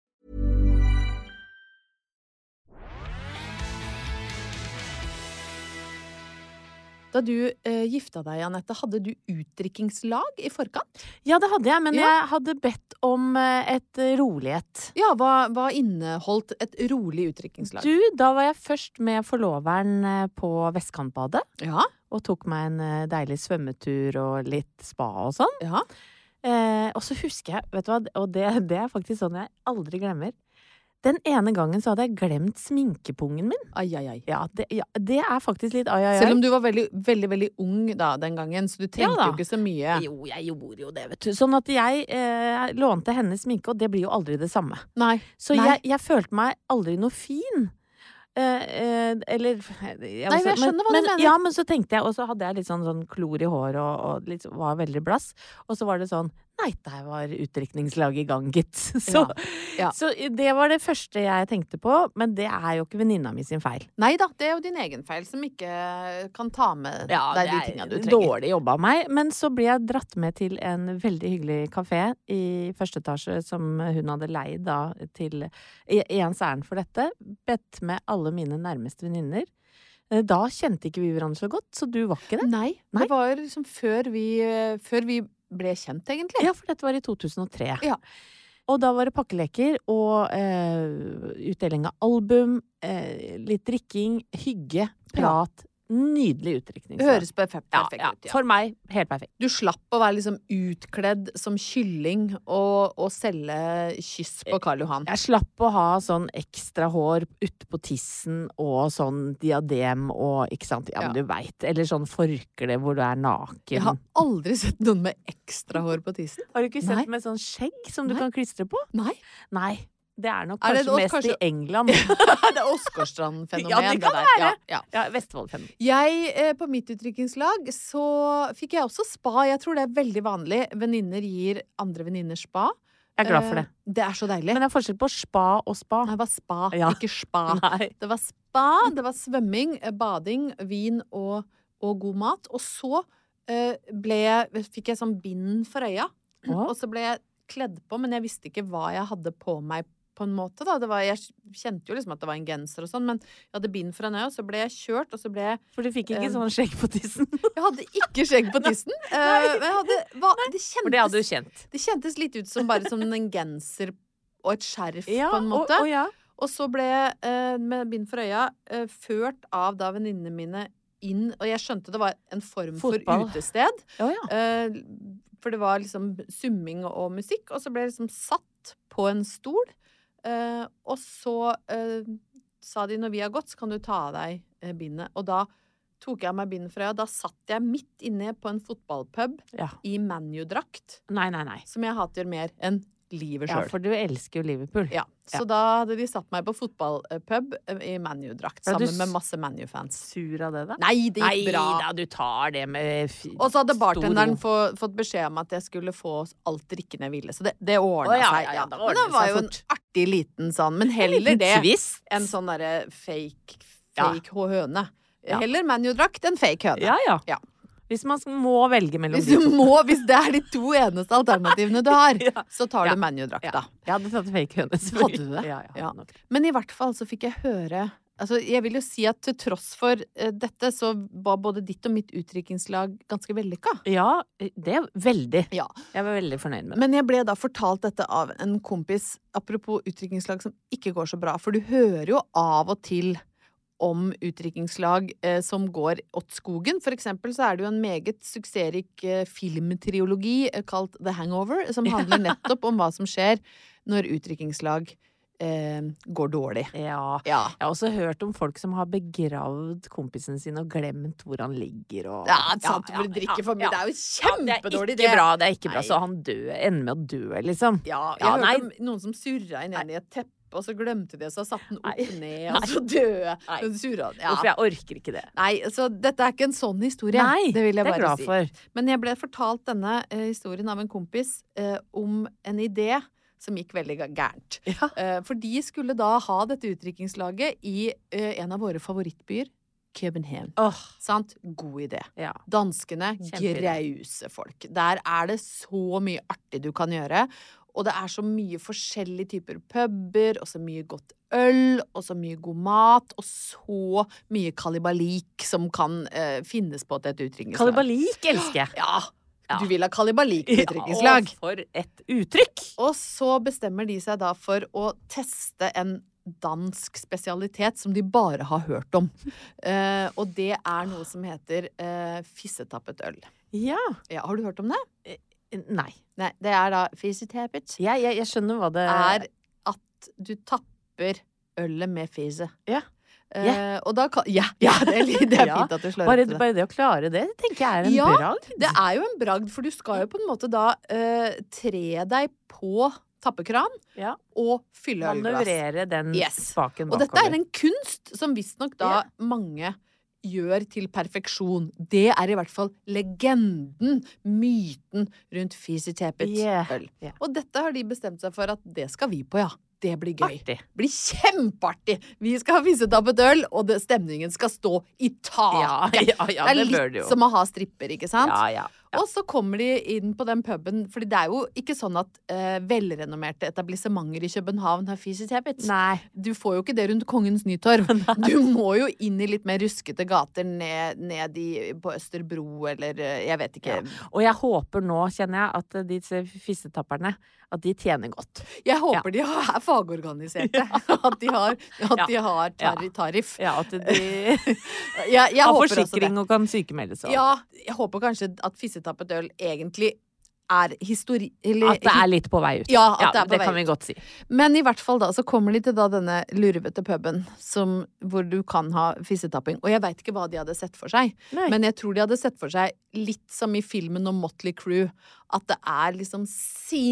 [SPEAKER 4] Da du eh, gifta deg, Anette, hadde du utdrikkingslag i forkant?
[SPEAKER 3] Ja, det hadde jeg, men
[SPEAKER 4] Ja.
[SPEAKER 3] jeg hadde bedt om eh, et eh, rolighet.
[SPEAKER 4] Ja, hva, hva inneholdt et rolig utdrikkingslag?
[SPEAKER 3] Du, da var jeg først med forloveren eh, på Vestkantbadet.
[SPEAKER 4] Ja,
[SPEAKER 3] Og tok meg en eh, deilig svømmetur og litt spa og sånn.
[SPEAKER 4] ja.
[SPEAKER 3] Eh, og så husker jeg, vet du hva, og det, det er faktisk sånn jeg aldri glemmer. Den ene gangen så hadde jeg glemt sminkepungen min.
[SPEAKER 4] Ai, ai, ai.
[SPEAKER 3] Ja, det, ja, det er faktisk litt ai, ai, ai.
[SPEAKER 4] Selv om du var veldig, veldig, veldig ung da, den gangen, så du trengte
[SPEAKER 3] da.
[SPEAKER 4] jo ikke så mye.
[SPEAKER 3] Jo, jeg gjorde jo det, vet du. Sånn at jeg eh, lånte hennes sminke, og det blir jo aldri det samme.
[SPEAKER 4] Nei.
[SPEAKER 3] Så
[SPEAKER 4] Nei.
[SPEAKER 3] jeg, jeg følte meg aldri noe fin. Eh, eh, eller jeg,
[SPEAKER 4] Nei, men jeg skjønner hva du
[SPEAKER 3] men,
[SPEAKER 4] mener.
[SPEAKER 3] Ja, men så tenkte jeg, og så hadde jeg litt sånn, sånn klor i håret og, og litt, var veldig blass. Og så var det sånn Nei, der var utdrikningslaget i gang, gitt. Så,
[SPEAKER 4] Ja, ja.
[SPEAKER 3] så det var det første jeg tenkte på, men det er jo ikke venninna mi sin feil.
[SPEAKER 4] Nei da, det er jo din egen feil som ikke eh, kan ta med deg de tinga du trenger.
[SPEAKER 3] dårlig jobba av meg. Men så ble jeg dratt med til en veldig hyggelig kafé i første etasje som hun hadde leid da til i i ens ærend for dette. Bedt med alle mine nærmeste venninner. Eh, Da kjente ikke vi hverandre så godt, så du var ikke det.
[SPEAKER 4] Nei,
[SPEAKER 3] Nei.
[SPEAKER 4] det var liksom før vi, eh, før vi ble kjent, egentlig.
[SPEAKER 3] Ja, for dette var i 2003.
[SPEAKER 4] Ja.
[SPEAKER 3] Og da var det pakkeleker og eh, utdeling av album, eh, litt drikking, hygge, prat. Nydelig utdrikning.
[SPEAKER 4] Høres perfekt,
[SPEAKER 3] ja,
[SPEAKER 4] perfekt
[SPEAKER 3] ja,
[SPEAKER 4] ut. Ja.
[SPEAKER 3] For meg, helt perfekt.
[SPEAKER 4] Du slapp å være liksom utkledd som kylling og, og selge kyss på Karl Johan.
[SPEAKER 3] Eh, Jeg slapp å ha sånn ekstra hår utpå tissen og sånn diadem og ikke sant, ja, men
[SPEAKER 4] Ja.
[SPEAKER 3] du veit. Eller sånn forkle hvor du er naken.
[SPEAKER 4] Jeg har aldri sett noen med ekstra hår på tissen.
[SPEAKER 3] Har du ikke
[SPEAKER 4] Nei.
[SPEAKER 3] med sånn skjegg som
[SPEAKER 4] Nei.
[SPEAKER 3] kan klistre på?
[SPEAKER 4] Nei.
[SPEAKER 3] Nei. Det er nok kanskje
[SPEAKER 4] Er det også
[SPEAKER 3] mest
[SPEAKER 4] kanskje-
[SPEAKER 3] i England.
[SPEAKER 4] det er Åsgårdstrand-fenomen.
[SPEAKER 3] Ja, det kan
[SPEAKER 4] der.
[SPEAKER 3] være.
[SPEAKER 4] Ja, ja.
[SPEAKER 3] ja, Vestfoldfem.
[SPEAKER 4] Jeg, eh, på mitt utdrikningslag, så fikk jeg også spa. Jeg tror det er veldig vanlig. Venninner gir andre venninner spa.
[SPEAKER 3] Jeg er glad for det.
[SPEAKER 4] Eh, Det er så deilig.
[SPEAKER 3] Men det er forskjell på spa og spa.
[SPEAKER 4] Nei, det var spa,
[SPEAKER 3] Ja.
[SPEAKER 4] ikke spa.
[SPEAKER 3] Nei.
[SPEAKER 4] Det var spa, det var svømming, eh, bading, vin og, og god mat. Og så eh, ble jeg, fikk jeg sånn bind for øya.
[SPEAKER 3] Å.
[SPEAKER 4] Og så ble jeg kledd på, men jeg visste ikke hva jeg hadde på meg. På en måte, da. Det var, jeg kjente jo liksom at det var en genser og sånn, men jeg hadde bind foran øya, og så ble jeg kjørt, og så ble jeg
[SPEAKER 3] For du fikk ikke
[SPEAKER 4] Eh.
[SPEAKER 3] sånn skjegg på tissen.
[SPEAKER 4] Jeg hadde ikke skjegg på tissen, eh, men jeg hadde, hva, det, kjentes,
[SPEAKER 3] For det hadde du kjent.
[SPEAKER 4] det kjentes litt ut som bare som en genser og et skjerf, på en
[SPEAKER 3] og,
[SPEAKER 4] måte.
[SPEAKER 3] og ja.
[SPEAKER 4] Og så ble jeg, eh, med bind for øya, eh, ført av da venninnene mine inn, og jeg skjønte det var en form
[SPEAKER 3] Fotball. Ah.
[SPEAKER 4] for utested.
[SPEAKER 3] Å, ja.
[SPEAKER 4] eh, for det var liksom summing og musikk, og så ble jeg liksom satt på en stol. eh, og så eh, sa de når vi har gått, så kan du ta av deg eh, bindet. Og da tok jeg av meg bindet fra øya. Da satt jeg midt inne på en fotballpub
[SPEAKER 3] ja.
[SPEAKER 4] i ManU-drakt,
[SPEAKER 3] Nei, nei, nei.
[SPEAKER 4] som jeg hater mer enn livet
[SPEAKER 3] Ja,
[SPEAKER 4] sjøl.
[SPEAKER 3] for du elsker jo Liverpool.
[SPEAKER 4] Ja, så da hadde de satt meg på fotballpub eh, i ManU-drakt
[SPEAKER 3] Ja, du
[SPEAKER 4] sammen
[SPEAKER 3] s-
[SPEAKER 4] med masse ManU-fans.
[SPEAKER 3] Sur av det, da?
[SPEAKER 4] Nei, det gikk bra!
[SPEAKER 3] da, du tar det med fi-
[SPEAKER 4] Og så hadde
[SPEAKER 3] stor
[SPEAKER 4] bartenderen
[SPEAKER 3] ro.
[SPEAKER 4] få, fått beskjed om at jeg skulle få alt drikkene jeg ville, så det, det
[SPEAKER 3] Å,
[SPEAKER 4] ordna
[SPEAKER 3] ja,
[SPEAKER 4] seg.
[SPEAKER 3] ja, ja, det ordnet
[SPEAKER 4] men det var
[SPEAKER 3] seg
[SPEAKER 4] jo en
[SPEAKER 3] fort.
[SPEAKER 4] artig liten sånn, men heller
[SPEAKER 3] Liten
[SPEAKER 4] det
[SPEAKER 3] twist.
[SPEAKER 4] enn sånn derre fake,
[SPEAKER 3] Ja.
[SPEAKER 4] fake høne.
[SPEAKER 3] Ja.
[SPEAKER 4] Heller ManU-drakt enn fake høne.
[SPEAKER 3] Ja, ja.
[SPEAKER 4] sånn- Ja.
[SPEAKER 3] Hvis man må velge mellom
[SPEAKER 4] Hvis
[SPEAKER 3] de
[SPEAKER 4] du
[SPEAKER 3] to.
[SPEAKER 4] må, hvis det er de to eneste alternativene du har,
[SPEAKER 3] Ja.
[SPEAKER 4] så tar
[SPEAKER 3] Ja.
[SPEAKER 4] du ManU-drakt,
[SPEAKER 3] Ja.
[SPEAKER 4] da.
[SPEAKER 3] Jeg hadde tatt fake høne.
[SPEAKER 4] Hadde du det?
[SPEAKER 3] Ja, ja,
[SPEAKER 4] Ja.
[SPEAKER 3] nok.
[SPEAKER 4] Men i hvert fall så fikk jeg høre Altså, jeg vil jo si at til tross for eh, dette, så var både ditt og mitt utdrikningslag ganske vellykka.
[SPEAKER 3] ja det er veldig.
[SPEAKER 4] Ja.
[SPEAKER 3] Jeg var veldig fornøyd med det.
[SPEAKER 4] Men jeg ble da fortalt dette av en kompis, apropos utdrikningslag som ikke går så bra, for du hører jo av og til om utdrikningslag eh, som går åt skogen. For eksempel så er det jo en meget suksessrik eh, filmtriologi eh, kalt The Hangover, som handler nettopp om hva som skjer når utdrikningslag eh, går dårlig.
[SPEAKER 3] Ja.
[SPEAKER 4] Ja.
[SPEAKER 3] Jeg har også hørt om folk som har begravd kompisen sin og glemt hvor han ligger og
[SPEAKER 4] Ja, sant, hvor du drikker for mye. Det er jo kjempedårlig
[SPEAKER 3] Det er
[SPEAKER 4] idé.
[SPEAKER 3] ikke bra, det er ikke bra.
[SPEAKER 4] Nei.
[SPEAKER 3] Så han dø, ender med å dø, liksom.
[SPEAKER 4] Ja, jeg
[SPEAKER 3] Ja,
[SPEAKER 4] hørte
[SPEAKER 3] nei.
[SPEAKER 4] om noen som surra inn igjen i et teppe, og så glemte de, og så satte den opp
[SPEAKER 3] Nei.
[SPEAKER 4] ned, og så døde den sura. Ja.
[SPEAKER 3] Uff, jeg orker ikke det.
[SPEAKER 4] Nei, så dette er ikke en sånn historie.
[SPEAKER 3] Nei,
[SPEAKER 4] det vil jeg
[SPEAKER 3] det er jeg
[SPEAKER 4] bare
[SPEAKER 3] glad
[SPEAKER 4] si.
[SPEAKER 3] for.
[SPEAKER 4] Men jeg ble fortalt denne eh, historien av en kompis eh, om en idé som gikk veldig ga- gærent.
[SPEAKER 3] Ja.
[SPEAKER 4] Eh, for de skulle da ha dette utdrikkingslaget i eh, en av våre favorittbyer, København.
[SPEAKER 3] Åh,
[SPEAKER 4] Sant? God idé.
[SPEAKER 3] ja.
[SPEAKER 4] Danskene,
[SPEAKER 3] Kjempeidé.
[SPEAKER 4] grause folk. Der er det så mye artig du kan gjøre. Og det er så mye forskjellige typer puber, og så mye godt øl, og så mye god mat, og så mye kalibalik som kan eh, finnes på et utdrikningslag.
[SPEAKER 3] Kalibalik elsker jeg.
[SPEAKER 4] Ja.
[SPEAKER 3] Ja.
[SPEAKER 4] Du vil ha kalibalik på utdrikningslag.
[SPEAKER 3] Ja, og for et uttrykk!
[SPEAKER 4] Og så bestemmer de seg da for å teste en dansk spesialitet som de bare har hørt om. Eh, og det er noe som heter eh, fissetappet øl.
[SPEAKER 3] Ja.
[SPEAKER 4] Ja, har du hørt om det?
[SPEAKER 3] Nei.
[SPEAKER 4] Nei, det er da fissetappet.
[SPEAKER 3] Jeg, jeg, jeg skjønner hva det
[SPEAKER 4] Er at du tapper ølet med fise.
[SPEAKER 3] Ja.
[SPEAKER 4] Eh,
[SPEAKER 3] Ja.
[SPEAKER 4] Og da kan Ja, ja det, er, li- det er
[SPEAKER 3] Ja.
[SPEAKER 4] fint at du slår
[SPEAKER 3] Bare,
[SPEAKER 4] opp til det.
[SPEAKER 3] bare det å klare det tenker jeg er en
[SPEAKER 4] Ja,
[SPEAKER 3] bragd.
[SPEAKER 4] Det er jo en bragd, for du skal jo på en måte da eh, tre deg på tappekran
[SPEAKER 3] Ja.
[SPEAKER 4] og fylle ølglass.
[SPEAKER 3] Manøvrere den
[SPEAKER 4] Yes.
[SPEAKER 3] spaken
[SPEAKER 4] Og
[SPEAKER 3] bakover.
[SPEAKER 4] dette er en kunst som visstnok da mange gjør til perfeksjon. Det er i hvert fall legenden, myten rundt fisetepet
[SPEAKER 3] Yeah.
[SPEAKER 4] øl.
[SPEAKER 3] Yeah.
[SPEAKER 4] Og dette har de bestemt seg for at det skal vi på, ja. Det blir gøy.
[SPEAKER 3] Artig.
[SPEAKER 4] Blir kjempeartig! Vi skal ha fisetappet øl, og det, stemningen skal stå i
[SPEAKER 3] Ja,
[SPEAKER 4] taket!
[SPEAKER 3] ja, ja, det
[SPEAKER 4] er
[SPEAKER 3] bør
[SPEAKER 4] litt
[SPEAKER 3] det jo.
[SPEAKER 4] som å ha stripper, ikke sant?
[SPEAKER 3] Ja, ja.
[SPEAKER 4] Og så kommer de inn på den puben, for det er jo ikke sånn at eh, velrenommerte etablissementer i København har fisetepet.
[SPEAKER 3] Nei.
[SPEAKER 4] Du får jo ikke det rundt Kongens Nytorv. Du må jo inn i litt mer ruskete gater, ned, ned i, på Østerbro eller eh, jeg vet ikke.
[SPEAKER 3] Og jeg håper nå, kjenner jeg, at disse fissetapperne at de tjener godt.
[SPEAKER 4] Jeg håper de har- er fagorganiserte. At de har, at
[SPEAKER 3] Ja.
[SPEAKER 4] de har tar,
[SPEAKER 3] Ja.
[SPEAKER 4] tariff.
[SPEAKER 3] Ja, at de
[SPEAKER 4] Jeg, jeg
[SPEAKER 3] har
[SPEAKER 4] håper også det.
[SPEAKER 3] forsikring og kan sykemeldes og
[SPEAKER 4] Ja, jeg håper kanskje at fissetappet øl egentlig er histori... Eller,
[SPEAKER 3] At det er litt på vei ut.
[SPEAKER 4] Ja, at det er på vei
[SPEAKER 3] kan vi
[SPEAKER 4] ut.
[SPEAKER 3] godt si.
[SPEAKER 4] Men i hvert fall da, så kommer de til da denne lurvete puben som, hvor du kan ha fissetapping. Og jeg veit ikke hva de hadde sett for seg,
[SPEAKER 3] Nei.
[SPEAKER 4] men jeg tror de hadde sett for seg litt som i filmen om Motley Crew, at det er liksom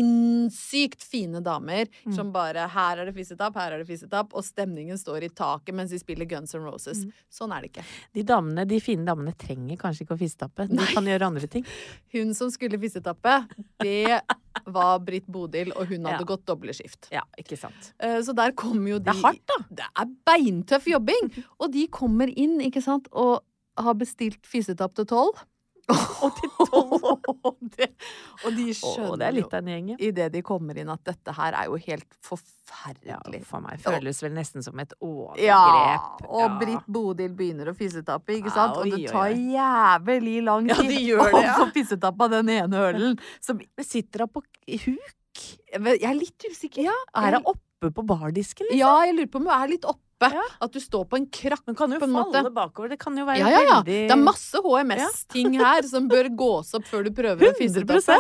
[SPEAKER 4] sinnssykt fine damer
[SPEAKER 3] Mm.
[SPEAKER 4] som bare Her er det fissetapp, her er det fissetapp, og stemningen står i taket mens de spiller Guns N' Roses.
[SPEAKER 3] Mm.
[SPEAKER 4] Sånn er det ikke.
[SPEAKER 3] De damene, de fine damene trenger kanskje ikke å fissetappe. De kan gjøre andre ting.
[SPEAKER 4] Hun som skulle fissetappe, det var Britt Bodil, og hun hadde
[SPEAKER 3] Ja.
[SPEAKER 4] gått doble skift.
[SPEAKER 3] Ja, ikke sant.
[SPEAKER 4] Eh, Så der kommer jo de
[SPEAKER 3] Det er hardt, da.
[SPEAKER 4] Det er beintøff jobbing! Og de kommer inn, ikke sant, og har bestilt fisetapp til tolv. Og til det, og de skjønner
[SPEAKER 3] Å, det er litt av en gjeng, ja.
[SPEAKER 4] jo idet de kommer inn at dette her er jo helt
[SPEAKER 3] Ja,
[SPEAKER 4] forferdelig.
[SPEAKER 3] for meg føles vel nesten som et overgrep.
[SPEAKER 4] og
[SPEAKER 3] Ja.
[SPEAKER 4] Britt Bodil begynner å fissetappe, ikke sant?
[SPEAKER 3] Ja,
[SPEAKER 4] og det
[SPEAKER 3] oi, oi,
[SPEAKER 4] tar
[SPEAKER 3] oi.
[SPEAKER 4] jævlig lang
[SPEAKER 3] Ja,
[SPEAKER 4] tid
[SPEAKER 3] de gjør det,
[SPEAKER 4] å
[SPEAKER 3] ja.
[SPEAKER 4] få fissetappa den ene ølen. Som,
[SPEAKER 3] Men sitter hun på huk?
[SPEAKER 4] jeg er litt usikker. Ja,
[SPEAKER 3] Er hun oppe på bardisken, liksom?
[SPEAKER 4] Ja, jeg lurer på om hun er litt oppe.
[SPEAKER 3] Ja.
[SPEAKER 4] At du står på en krakk.
[SPEAKER 3] Men kan jo
[SPEAKER 4] på en
[SPEAKER 3] falle
[SPEAKER 4] måte.
[SPEAKER 3] bakover. Det kan jo være
[SPEAKER 4] Ja, ja, ja.
[SPEAKER 3] veldig
[SPEAKER 4] Det er masse HMS-ting her som bør gås opp før du prøver å fisetappe.
[SPEAKER 3] 100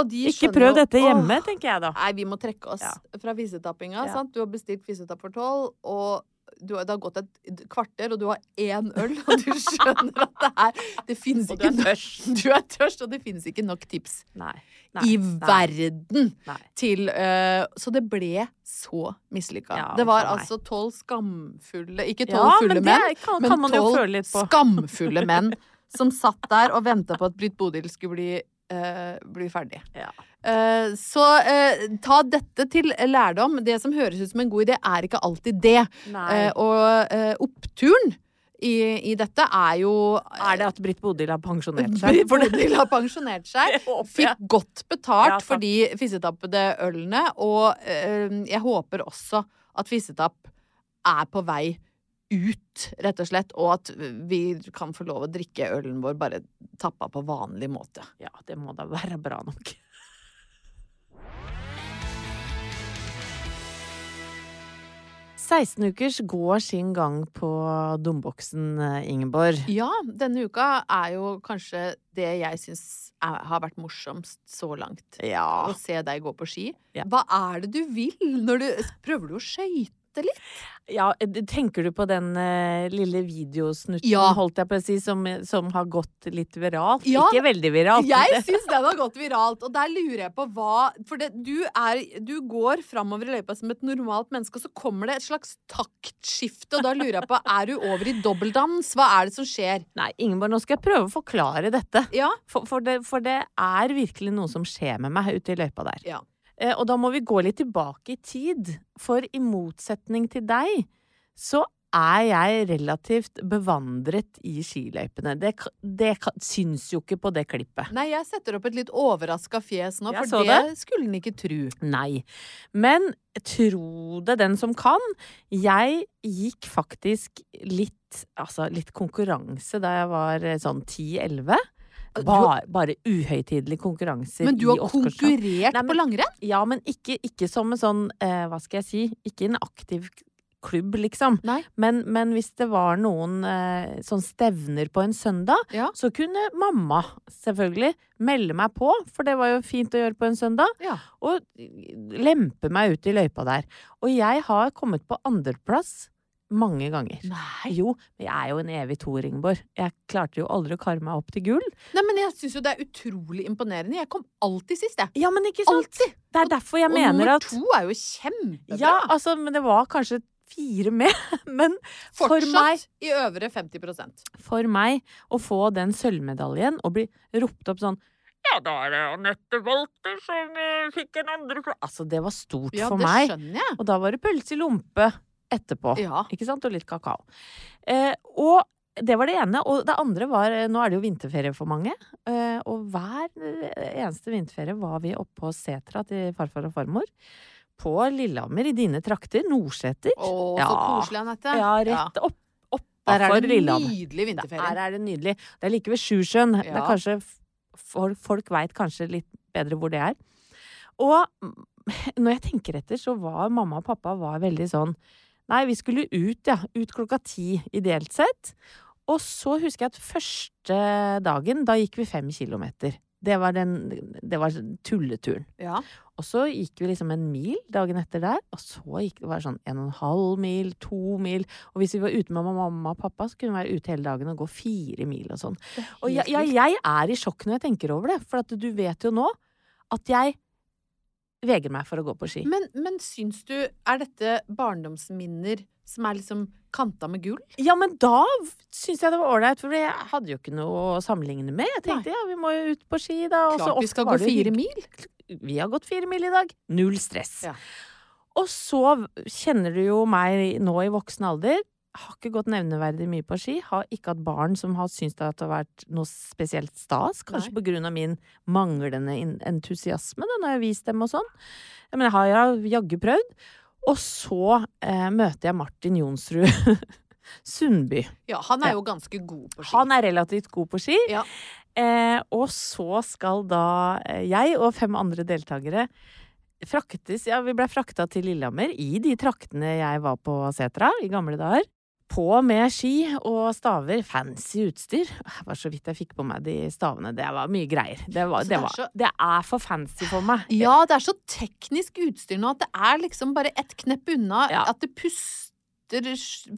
[SPEAKER 4] Og de
[SPEAKER 3] Ikke
[SPEAKER 4] skjønner
[SPEAKER 3] prøv
[SPEAKER 4] jo-
[SPEAKER 3] dette hjemme,
[SPEAKER 4] Åh,
[SPEAKER 3] tenker jeg da.
[SPEAKER 4] Nei, vi må trekke oss
[SPEAKER 3] Ja.
[SPEAKER 4] fra fisetappinga.
[SPEAKER 3] Ja.
[SPEAKER 4] Sant? Du har bestilt fisetapp for tolv, og du har, det har gått et kvarter, og du har én øl, og du skjønner at det er Det fins
[SPEAKER 3] Og du
[SPEAKER 4] ikke
[SPEAKER 3] er tørst.
[SPEAKER 4] nok- Du er tørst, og det fins ikke nok tips
[SPEAKER 3] Nei.
[SPEAKER 4] i
[SPEAKER 3] nei,
[SPEAKER 4] verden
[SPEAKER 3] Nei.
[SPEAKER 4] til eh, Så det ble så mislykka.
[SPEAKER 3] Ja,
[SPEAKER 4] det var
[SPEAKER 3] for meg.
[SPEAKER 4] altså tolv skamfulle Ikke tolv
[SPEAKER 3] Ja,
[SPEAKER 4] fulle
[SPEAKER 3] men det
[SPEAKER 4] menn,
[SPEAKER 3] er- kan,
[SPEAKER 4] men
[SPEAKER 3] kan man jo
[SPEAKER 4] tolv
[SPEAKER 3] føle litt på.
[SPEAKER 4] skamfulle menn som satt der og venta på at Britt Bodil skulle bli, eh, bli ferdig.
[SPEAKER 3] Ja.
[SPEAKER 4] Eh, så eh, ta dette til lærdom. Det som høres ut som en god idé, er ikke alltid det.
[SPEAKER 3] Nei.
[SPEAKER 4] Eh, og eh, oppturen i, i dette er jo
[SPEAKER 3] er det at Britt Bodil har pensjonert seg?
[SPEAKER 4] Britt Bodil har pensjonert seg.
[SPEAKER 3] Det håper jeg.
[SPEAKER 4] Fikk godt betalt
[SPEAKER 3] Ja, takk.
[SPEAKER 4] for de fissetappede ølene, og eh, jeg håper også at fissetapp er på vei ut, rett og slett, og at vi kan få lov å drikke ølen vår bare tappa på vanlig måte.
[SPEAKER 3] Ja, det må da være bra nok. Sekstenukers går sin gang på domboksen, eh, Ingeborg.
[SPEAKER 4] Ja, denne uka er jo kanskje det jeg syns er- har vært morsomst så langt.
[SPEAKER 3] Ja.
[SPEAKER 4] Å se deg gå på ski.
[SPEAKER 3] Ja.
[SPEAKER 4] Hva er det du vil når du Prøver du å skøyte? bitte litt.
[SPEAKER 3] Ja, eh, d- tenker du på den eh, lille videosnutten,
[SPEAKER 4] Ja.
[SPEAKER 3] holdt jeg på å si, som, eh, som har gått litt viralt?
[SPEAKER 4] Ja.
[SPEAKER 3] Ikke veldig viralt.
[SPEAKER 4] Jeg syns den har gått viralt, og der lurer jeg på hva For det, du, er, du går framover i løypa som et normalt menneske, og så kommer det et slags taktskifte, og da lurer jeg på Er du over i dobbeldans? Hva er det som skjer?
[SPEAKER 3] Nei, Ingeborg, nå skal jeg prøve å forklare dette.
[SPEAKER 4] Ja.
[SPEAKER 3] For, for, det, for det er virkelig noe som skjer med meg ute i løypa der.
[SPEAKER 4] Ja.
[SPEAKER 3] Eh, og da må vi gå litt tilbake i tid, for i motsetning til deg, så er jeg relativt bevandret i skiløypene. Det, k- det k- syns jo ikke på det klippet.
[SPEAKER 4] Nei, jeg setter opp et litt overraska fjes nå,
[SPEAKER 3] Jeg
[SPEAKER 4] for
[SPEAKER 3] så
[SPEAKER 4] det, skulle en ikke tru.
[SPEAKER 3] Nei. Men tro det den som kan. Jeg gikk faktisk litt Altså litt konkurranse da jeg var eh, sånn 10-11.
[SPEAKER 4] Du-
[SPEAKER 3] Bare, bare uhøytidelige konkurranser
[SPEAKER 4] Men du
[SPEAKER 3] i
[SPEAKER 4] har
[SPEAKER 3] Åsgårdstrand.
[SPEAKER 4] konkurrert
[SPEAKER 3] Nei, men-
[SPEAKER 4] på langrenn?
[SPEAKER 3] Ja, men ikke, ikke som en sånn, eh, hva skal jeg si, ikke en aktiv k- klubb, liksom.
[SPEAKER 4] Nei.
[SPEAKER 3] Men, men hvis det var noen eh, sånn stevner på en søndag,
[SPEAKER 4] Ja.
[SPEAKER 3] så kunne mamma selvfølgelig melde meg på, for det var jo fint å gjøre på en søndag,
[SPEAKER 4] Ja.
[SPEAKER 3] og lempe meg ut i løypa der. Og jeg har kommet på andreplass mange ganger.
[SPEAKER 4] Nei.
[SPEAKER 3] Jo, men jeg er jo en evig toer, Ingeborg. Jeg klarte jo aldri å kare meg opp til gull.
[SPEAKER 4] Nei, men jeg syns jo det er utrolig imponerende. Jeg kom alltid sist, jeg.
[SPEAKER 3] Ja, men ikke sant?
[SPEAKER 4] Alltid!
[SPEAKER 3] Det er derfor jeg
[SPEAKER 4] Og
[SPEAKER 3] mener
[SPEAKER 4] nummer
[SPEAKER 3] at
[SPEAKER 4] to er jo kjempebra.
[SPEAKER 3] Ja, altså, men det var kanskje fire med. Men for
[SPEAKER 4] Fortsatt
[SPEAKER 3] meg,
[SPEAKER 4] i øvre 50
[SPEAKER 3] for meg å få den sølvmedaljen og bli ropt opp sånn ja, da er det Anette Walter som eh, fikk en andreplass. Altså, det var stort
[SPEAKER 4] Ja,
[SPEAKER 3] for
[SPEAKER 4] det
[SPEAKER 3] meg.
[SPEAKER 4] skjønner jeg.
[SPEAKER 3] Og da var det pølse i lompe etterpå.
[SPEAKER 4] Ja.
[SPEAKER 3] Ikke sant? Og litt kakao. Eh, og det var det ene. Og det andre var eh, Nå er det jo vinterferie for mange. Eh, og hver eh, eneste vinterferie var vi oppe på setra til farfar og farmor. På Lillehammer, i dine trakter. Nordseter.
[SPEAKER 4] Å, så
[SPEAKER 3] Ja.
[SPEAKER 4] koselig, Anette.
[SPEAKER 3] Ja, rett opp,
[SPEAKER 4] Der er
[SPEAKER 3] oppafor
[SPEAKER 4] det
[SPEAKER 3] Lillehammer.
[SPEAKER 4] nydelig
[SPEAKER 3] Der
[SPEAKER 4] vinterferie.
[SPEAKER 3] er det nydelig. Det er like ved Sjusjøen. Det
[SPEAKER 4] Ja.
[SPEAKER 3] er kanskje Folk, folk veit kanskje litt bedre hvor det er. Og mm, når jeg tenker etter, så var mamma og pappa var veldig sånn Nei, vi skulle ut, ja. Ut klokka ti, ideelt sett. Og så husker jeg at første dagen, da gikk vi fem kilometer. Det var, den, det var tulleturen.
[SPEAKER 4] Ja.
[SPEAKER 3] Og så gikk vi liksom en mil dagen etter der, og så gikk det var det sånn en og en halv mil, to mil, og hvis vi var ute med mamma og pappa, så kunne vi være ute hele dagen og gå fire mil og sånn. Og jeg, jeg, jeg er i sjokk når jeg tenker over det, for at du vet jo nå at jeg veger meg for å gå på ski.
[SPEAKER 4] Men, men syns du Er dette barndomsminner som er liksom kanta med gull?
[SPEAKER 3] Ja, men da syns jeg det var ålreit, for jeg hadde jo ikke noe å sammenligne med. Jeg tenkte ja, vi må jo ut på ski da. og så
[SPEAKER 4] Klart vi
[SPEAKER 3] Altså, ofte
[SPEAKER 4] skal
[SPEAKER 3] var
[SPEAKER 4] gå
[SPEAKER 3] det jo
[SPEAKER 4] fire
[SPEAKER 3] hygg-
[SPEAKER 4] mil.
[SPEAKER 3] Vi har gått fire mil i dag. Null stress.
[SPEAKER 4] Ja.
[SPEAKER 3] Og så kjenner du jo meg nå i voksen alder. Har ikke gått nevneverdig mye på ski. Har ikke hatt barn som har syntes det har vært noe spesielt stas. Kanskje på grunn av min manglende in- entusiasme da, når jeg har vist dem og sånn. Ja, Men jeg har ja- jaggu prøvd. Og så eh, møter jeg Martin Jonsrud Sundby.
[SPEAKER 4] Ja, han er
[SPEAKER 3] Ja.
[SPEAKER 4] jo ganske god på ski.
[SPEAKER 3] Han er relativt god på ski.
[SPEAKER 4] Ja.
[SPEAKER 3] Eh, og så skal da eh, jeg og fem andre deltakere fraktes Ja, vi blei frakta til Lillehammer i de traktene jeg var på setra i gamle dager. På med ski og staver. Fancy utstyr. Det var så vidt jeg fikk på meg de stavene. Det var mye greier. Det, var,
[SPEAKER 4] Altså, det
[SPEAKER 3] det,
[SPEAKER 4] er
[SPEAKER 3] var,
[SPEAKER 4] så-
[SPEAKER 3] det er for fancy for meg.
[SPEAKER 4] Ja, det er så teknisk utstyr nå at det er liksom bare ett knepp unna
[SPEAKER 3] Ja.
[SPEAKER 4] at det puster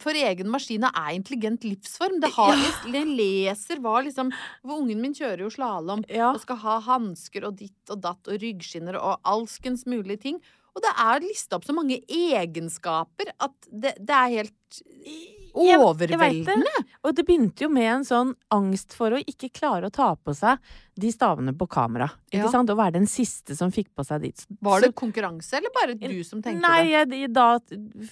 [SPEAKER 4] for egen maskin og er intelligent livsform. Det har jeg leser hva liksom hvor Ungen min kjører jo slalåm
[SPEAKER 3] Ja.
[SPEAKER 4] og skal ha hansker og ditt og datt og ryggskinner og alskens mulige ting. Og det er lista opp så mange egenskaper at det, det er helt
[SPEAKER 3] Jeg-
[SPEAKER 4] overveldende.
[SPEAKER 3] Jeg vet det. Og det begynte jo med en sånn angst for å ikke klare å ta på seg de stavene på kamera. Ikke
[SPEAKER 4] Ja.
[SPEAKER 3] sant? Å være den siste som fikk på seg de. Så-
[SPEAKER 4] Var det konkurranse, eller bare du som tenkte
[SPEAKER 3] Nei,
[SPEAKER 4] det?
[SPEAKER 3] jeg, de- da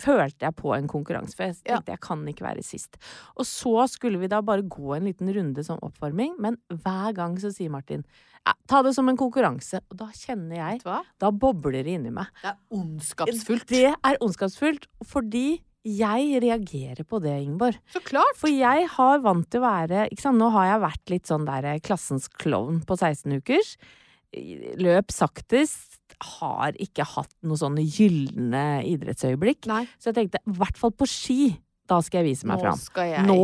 [SPEAKER 3] følte jeg på en konkurranse, for jeg tenkte jeg kan ikke være sist. Og så skulle vi da bare gå en liten runde som oppvarming, men hver gang så sier Martin ja, ta det som en konkurranse. Og da kjenner jeg
[SPEAKER 4] Vet du hva?
[SPEAKER 3] Da bobler det inni meg.
[SPEAKER 4] Det er ondskapsfullt.
[SPEAKER 3] Det er ondskapsfullt, fordi jeg reagerer på det, Ingeborg.
[SPEAKER 4] Så klart!
[SPEAKER 3] For jeg har vant til å være ikke sant? Nå har jeg vært litt sånn der klassens klovn på 16 ukers. Løp saktest. Har ikke hatt noe sånne gylne idrettsøyeblikk.
[SPEAKER 4] Nei,
[SPEAKER 3] Så jeg tenkte, i hvert fall på ski, da skal jeg vise meg
[SPEAKER 4] nå
[SPEAKER 3] fram.
[SPEAKER 4] skal jeg
[SPEAKER 3] Nå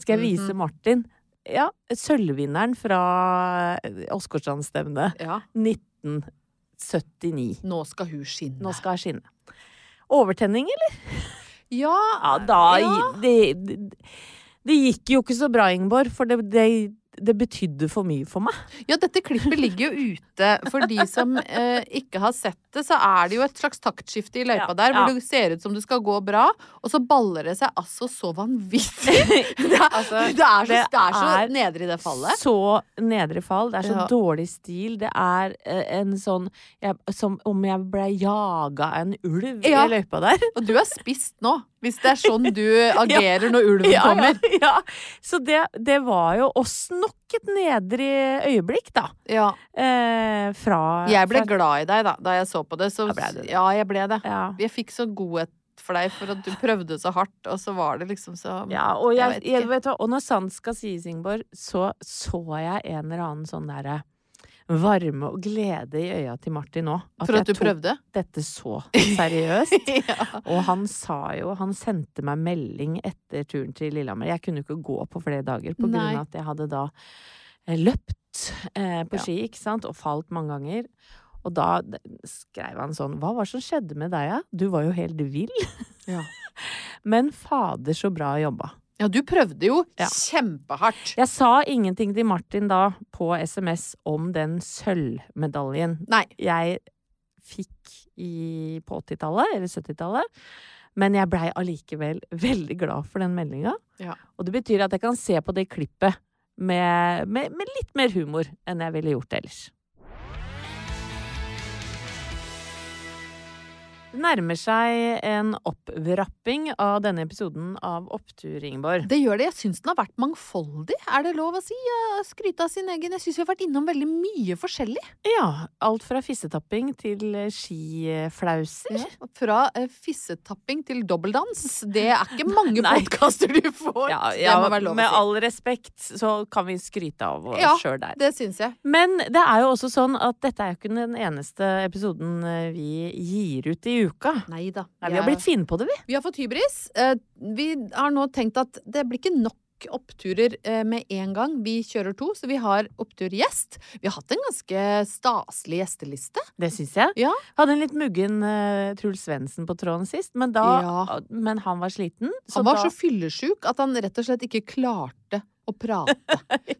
[SPEAKER 3] skal jeg vise
[SPEAKER 4] Mhm.
[SPEAKER 3] Martin. Ja, sølvvinneren fra eh, Åsgårdstrandstevnet
[SPEAKER 4] Ja.
[SPEAKER 3] 1979.
[SPEAKER 4] Nå skal hun skinne.
[SPEAKER 3] Nå skal jeg skinne. Overtenning, eller?
[SPEAKER 4] Ja,
[SPEAKER 3] Ja, da gi- Det, det, det gikk jo ikke så bra, Ingeborg, for det, det, det betydde for mye for meg.
[SPEAKER 4] Ja, dette klippet ligger jo ute. For de som eh, ikke har sett det, så er det jo et slags taktskifte i løypa
[SPEAKER 3] Ja,
[SPEAKER 4] der, hvor
[SPEAKER 3] ja.
[SPEAKER 4] det ser ut som du skal gå bra, og så baller det seg altså så vanvittig. Det er, det er, så, det
[SPEAKER 3] Altså, det
[SPEAKER 4] er så
[SPEAKER 3] er
[SPEAKER 4] nedre i det fallet.
[SPEAKER 3] Så nedre fall. Det er så
[SPEAKER 4] Ja.
[SPEAKER 3] dårlig stil. Det er eh, en sånn jeg, Som om jeg ble jaga av en ulv
[SPEAKER 4] Ja.
[SPEAKER 3] i løypa der.
[SPEAKER 4] Og du er spist nå, hvis det er sånn du agerer når ulven
[SPEAKER 3] Ja, ja,
[SPEAKER 4] kommer.
[SPEAKER 3] ja. Så det, det var jo oss nok et nedre øyeblikk, da.
[SPEAKER 4] Ja.
[SPEAKER 3] Eh, fra
[SPEAKER 4] Jeg ble
[SPEAKER 3] fra,
[SPEAKER 4] glad i deg da, da jeg så på det. Så,
[SPEAKER 3] ble du det?
[SPEAKER 4] ja, jeg ble det.
[SPEAKER 3] ja.
[SPEAKER 4] Jeg fikk så godhet for deg for at du prøvde så hardt, og så var det liksom så
[SPEAKER 3] Ja, og, jeg,
[SPEAKER 4] vet
[SPEAKER 3] jeg,
[SPEAKER 4] ikke.
[SPEAKER 3] vet du, hva, og når sant skal sies, Ingeborg, så så jeg en eller annen sånn derre varme og glede i øya til Martin nå.
[SPEAKER 4] For at du
[SPEAKER 3] jeg tok
[SPEAKER 4] prøvde?
[SPEAKER 3] dette så seriøst.
[SPEAKER 4] ja.
[SPEAKER 3] Og han sa jo Han sendte meg melding etter turen til Lillehammer. Jeg kunne jo ikke gå på flere dager på grunn
[SPEAKER 4] Nei.
[SPEAKER 3] av at jeg hadde da eh, løpt eh, på
[SPEAKER 4] Ja.
[SPEAKER 3] ski, ikke sant, og falt mange ganger. Og da d- skrev han sånn Hva var det som skjedde med deg, da? Du var jo helt vill.
[SPEAKER 4] Ja.
[SPEAKER 3] Men fader, så bra jobba.
[SPEAKER 4] Ja, du prøvde jo
[SPEAKER 3] Ja.
[SPEAKER 4] kjempehardt.
[SPEAKER 3] Jeg sa ingenting til Martin da på SMS om den sølvmedaljen
[SPEAKER 4] Nei.
[SPEAKER 3] jeg fikk i, på 80-tallet, eller 70-tallet. Men jeg blei allikevel veldig glad for den meldinga.
[SPEAKER 4] Ja.
[SPEAKER 3] Og det betyr at jeg kan se på det klippet med, med, med litt mer humor enn jeg ville gjort ellers. Det nærmer seg en oppvrapping av denne episoden av Opptur, Ingeborg.
[SPEAKER 4] Det gjør det. Jeg syns den har vært mangfoldig, er det lov å si? Ja, Skryte av sin egen. Jeg syns vi har vært innom veldig mye forskjellig.
[SPEAKER 3] Ja, alt fra fissetapping til eh, skiflauser.
[SPEAKER 4] Fra eh, fissetapping til dobbeldans. Det er ikke mange
[SPEAKER 3] Nei.
[SPEAKER 4] podkaster du får.
[SPEAKER 3] Ja,
[SPEAKER 4] det må
[SPEAKER 3] ja,
[SPEAKER 4] være lov
[SPEAKER 3] med
[SPEAKER 4] å si.
[SPEAKER 3] all respekt så kan vi skryte av oss
[SPEAKER 4] Ja,
[SPEAKER 3] sjøl der.
[SPEAKER 4] Det syns jeg.
[SPEAKER 3] Men det er jo også sånn at dette er jo ikke den eneste episoden eh, vi gir ut i uka.
[SPEAKER 4] Nei da.
[SPEAKER 3] Nei, vi har blitt fine på det, vi.
[SPEAKER 4] Vi har fått hybris. Eh, Vi har nå tenkt at det blir ikke nok oppturer eh, med en gang. Vi kjører to, så vi har oppturgjest. Vi har hatt en ganske staselig gjesteliste.
[SPEAKER 3] Det syns jeg.
[SPEAKER 4] Ja.
[SPEAKER 3] Hadde en litt muggen eh, Truls Svendsen på tråden sist, men, da,
[SPEAKER 4] Ja.
[SPEAKER 3] men han var sliten.
[SPEAKER 4] Han var
[SPEAKER 3] da,
[SPEAKER 4] så fyllesjuk at han rett og slett ikke klarte å prate.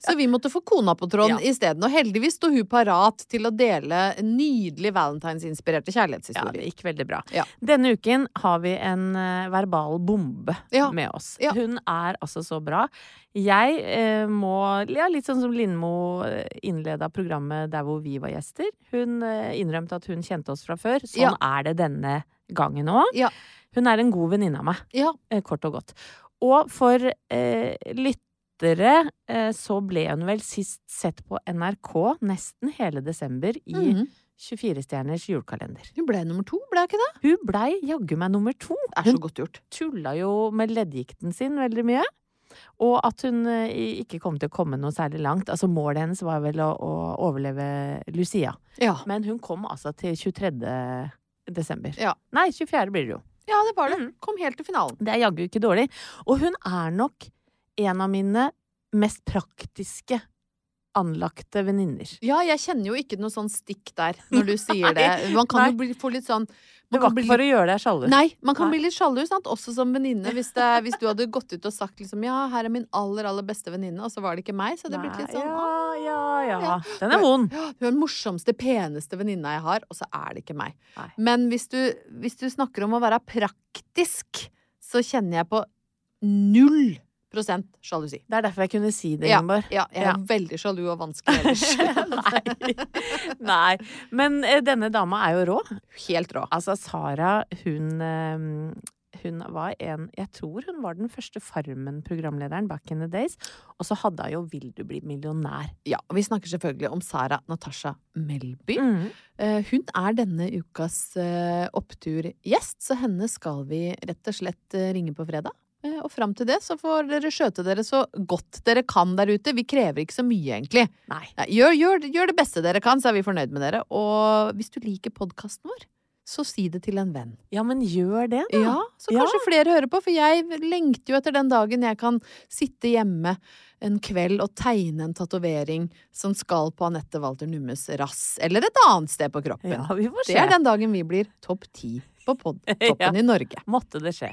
[SPEAKER 4] Så vi måtte få kona på tråden isteden. Og heldigvis sto hun parat til å dele nydelig
[SPEAKER 3] ja,
[SPEAKER 4] valentinsinspirerte
[SPEAKER 3] det
[SPEAKER 4] kjærlighetshistorier.
[SPEAKER 3] gikk veldig bra.
[SPEAKER 4] Ja.
[SPEAKER 3] Denne uken har vi en eh, verbal bombe
[SPEAKER 4] Ja.
[SPEAKER 3] med oss.
[SPEAKER 4] Ja.
[SPEAKER 3] Hun er altså så bra. Jeg eh, må ja, Litt sånn som Lindmo eh, innleda programmet der hvor vi var gjester. Hun eh, innrømte at hun kjente oss fra før. Sånn
[SPEAKER 4] Ja.
[SPEAKER 3] er det denne gangen òg.
[SPEAKER 4] Ja.
[SPEAKER 3] Hun er en god venninne av meg,
[SPEAKER 4] Ja.
[SPEAKER 3] eh, kort og godt. Og for eh, lyttere eh, så ble hun vel sist sett på NRK nesten hele desember i
[SPEAKER 4] Mhm.
[SPEAKER 3] 24-stjerners julekalender.
[SPEAKER 4] Hun ble nummer to, ble hun ikke det?
[SPEAKER 3] Hun blei jaggu meg nummer to.
[SPEAKER 4] Det er
[SPEAKER 3] Hun
[SPEAKER 4] så godt gjort.
[SPEAKER 3] tulla jo med leddgikten sin veldig mye. Og at hun eh, ikke kom til å komme noe særlig langt. Altså Målet hennes var vel å, å overleve Lucia.
[SPEAKER 4] Ja.
[SPEAKER 3] Men hun kom altså til 23. desember.
[SPEAKER 4] Ja.
[SPEAKER 3] Nei, 24. blir det jo.
[SPEAKER 4] ja, det var det. Kom helt til finalen.
[SPEAKER 3] Det er jaggu ikke dårlig. Og hun er nok en av mine mest praktiske anlagte venninner.
[SPEAKER 4] Ja, jeg kjenner jo ikke noe sånn stikk der, når du sier det. Man kan jo bli, få litt sånn
[SPEAKER 3] Det
[SPEAKER 4] man
[SPEAKER 3] var
[SPEAKER 4] kan bli
[SPEAKER 3] ikke for å gjøre deg sjalu.
[SPEAKER 4] Nei, man kan
[SPEAKER 3] Nei.
[SPEAKER 4] bli litt sjalu, sant? også som venninne. Hvis, det- hvis du hadde gått ut og sagt liksom, ja, her er min aller aller beste venninne, og så var det ikke meg, så hadde det blitt litt sånn «Å,
[SPEAKER 3] Ja, ja, ja.
[SPEAKER 4] ja.
[SPEAKER 3] Den er vond.
[SPEAKER 4] ja, Hun er den morsomste, peneste venninna jeg har, og så er det ikke meg.
[SPEAKER 3] Nei.
[SPEAKER 4] Men hvis du, hvis du snakker om å være praktisk, så kjenner jeg på null prosent sjalusi.
[SPEAKER 3] Det er derfor jeg kunne si det, Ingeborg.
[SPEAKER 4] Ja, jeg
[SPEAKER 3] Ja.
[SPEAKER 4] er veldig sjalu og vanskelig ellers.
[SPEAKER 3] Nei. Nei. Men eh, denne dama er jo rå.
[SPEAKER 4] Helt rå.
[SPEAKER 3] Altså, Sara, hun eh, Hun var en Jeg tror hun var den første Farmen-programlederen back in the days. Og så hadde hun jo Vil du bli millionær.
[SPEAKER 4] Ja, og vi snakker selvfølgelig om Sara Natasha Melby. Eh, Hun er denne ukas eh, oppturgjest, så henne skal vi rett og slett eh, ringe på fredag. Eh, Og fram til det så får dere skjøte dere så godt dere kan der ute. Vi krever ikke så mye, egentlig.
[SPEAKER 3] Nei.
[SPEAKER 4] Nei, gjør, gjør, gjør det beste dere kan, så er vi fornøyd med dere. Og hvis du liker podkasten vår, så si det til en venn.
[SPEAKER 3] Ja, men gjør det, da.
[SPEAKER 4] Ja, Så kanskje flere hører på, for jeg lengter jo etter den dagen jeg kan sitte hjemme en kveld og tegne en tatovering som skal på Anette Walter Nummes rass, eller et annet sted på kroppen.
[SPEAKER 3] Ja, vi får se.
[SPEAKER 4] Det er den dagen vi blir topp ti på pod toppen
[SPEAKER 3] Ja.
[SPEAKER 4] i Norge.
[SPEAKER 3] Måtte det skje.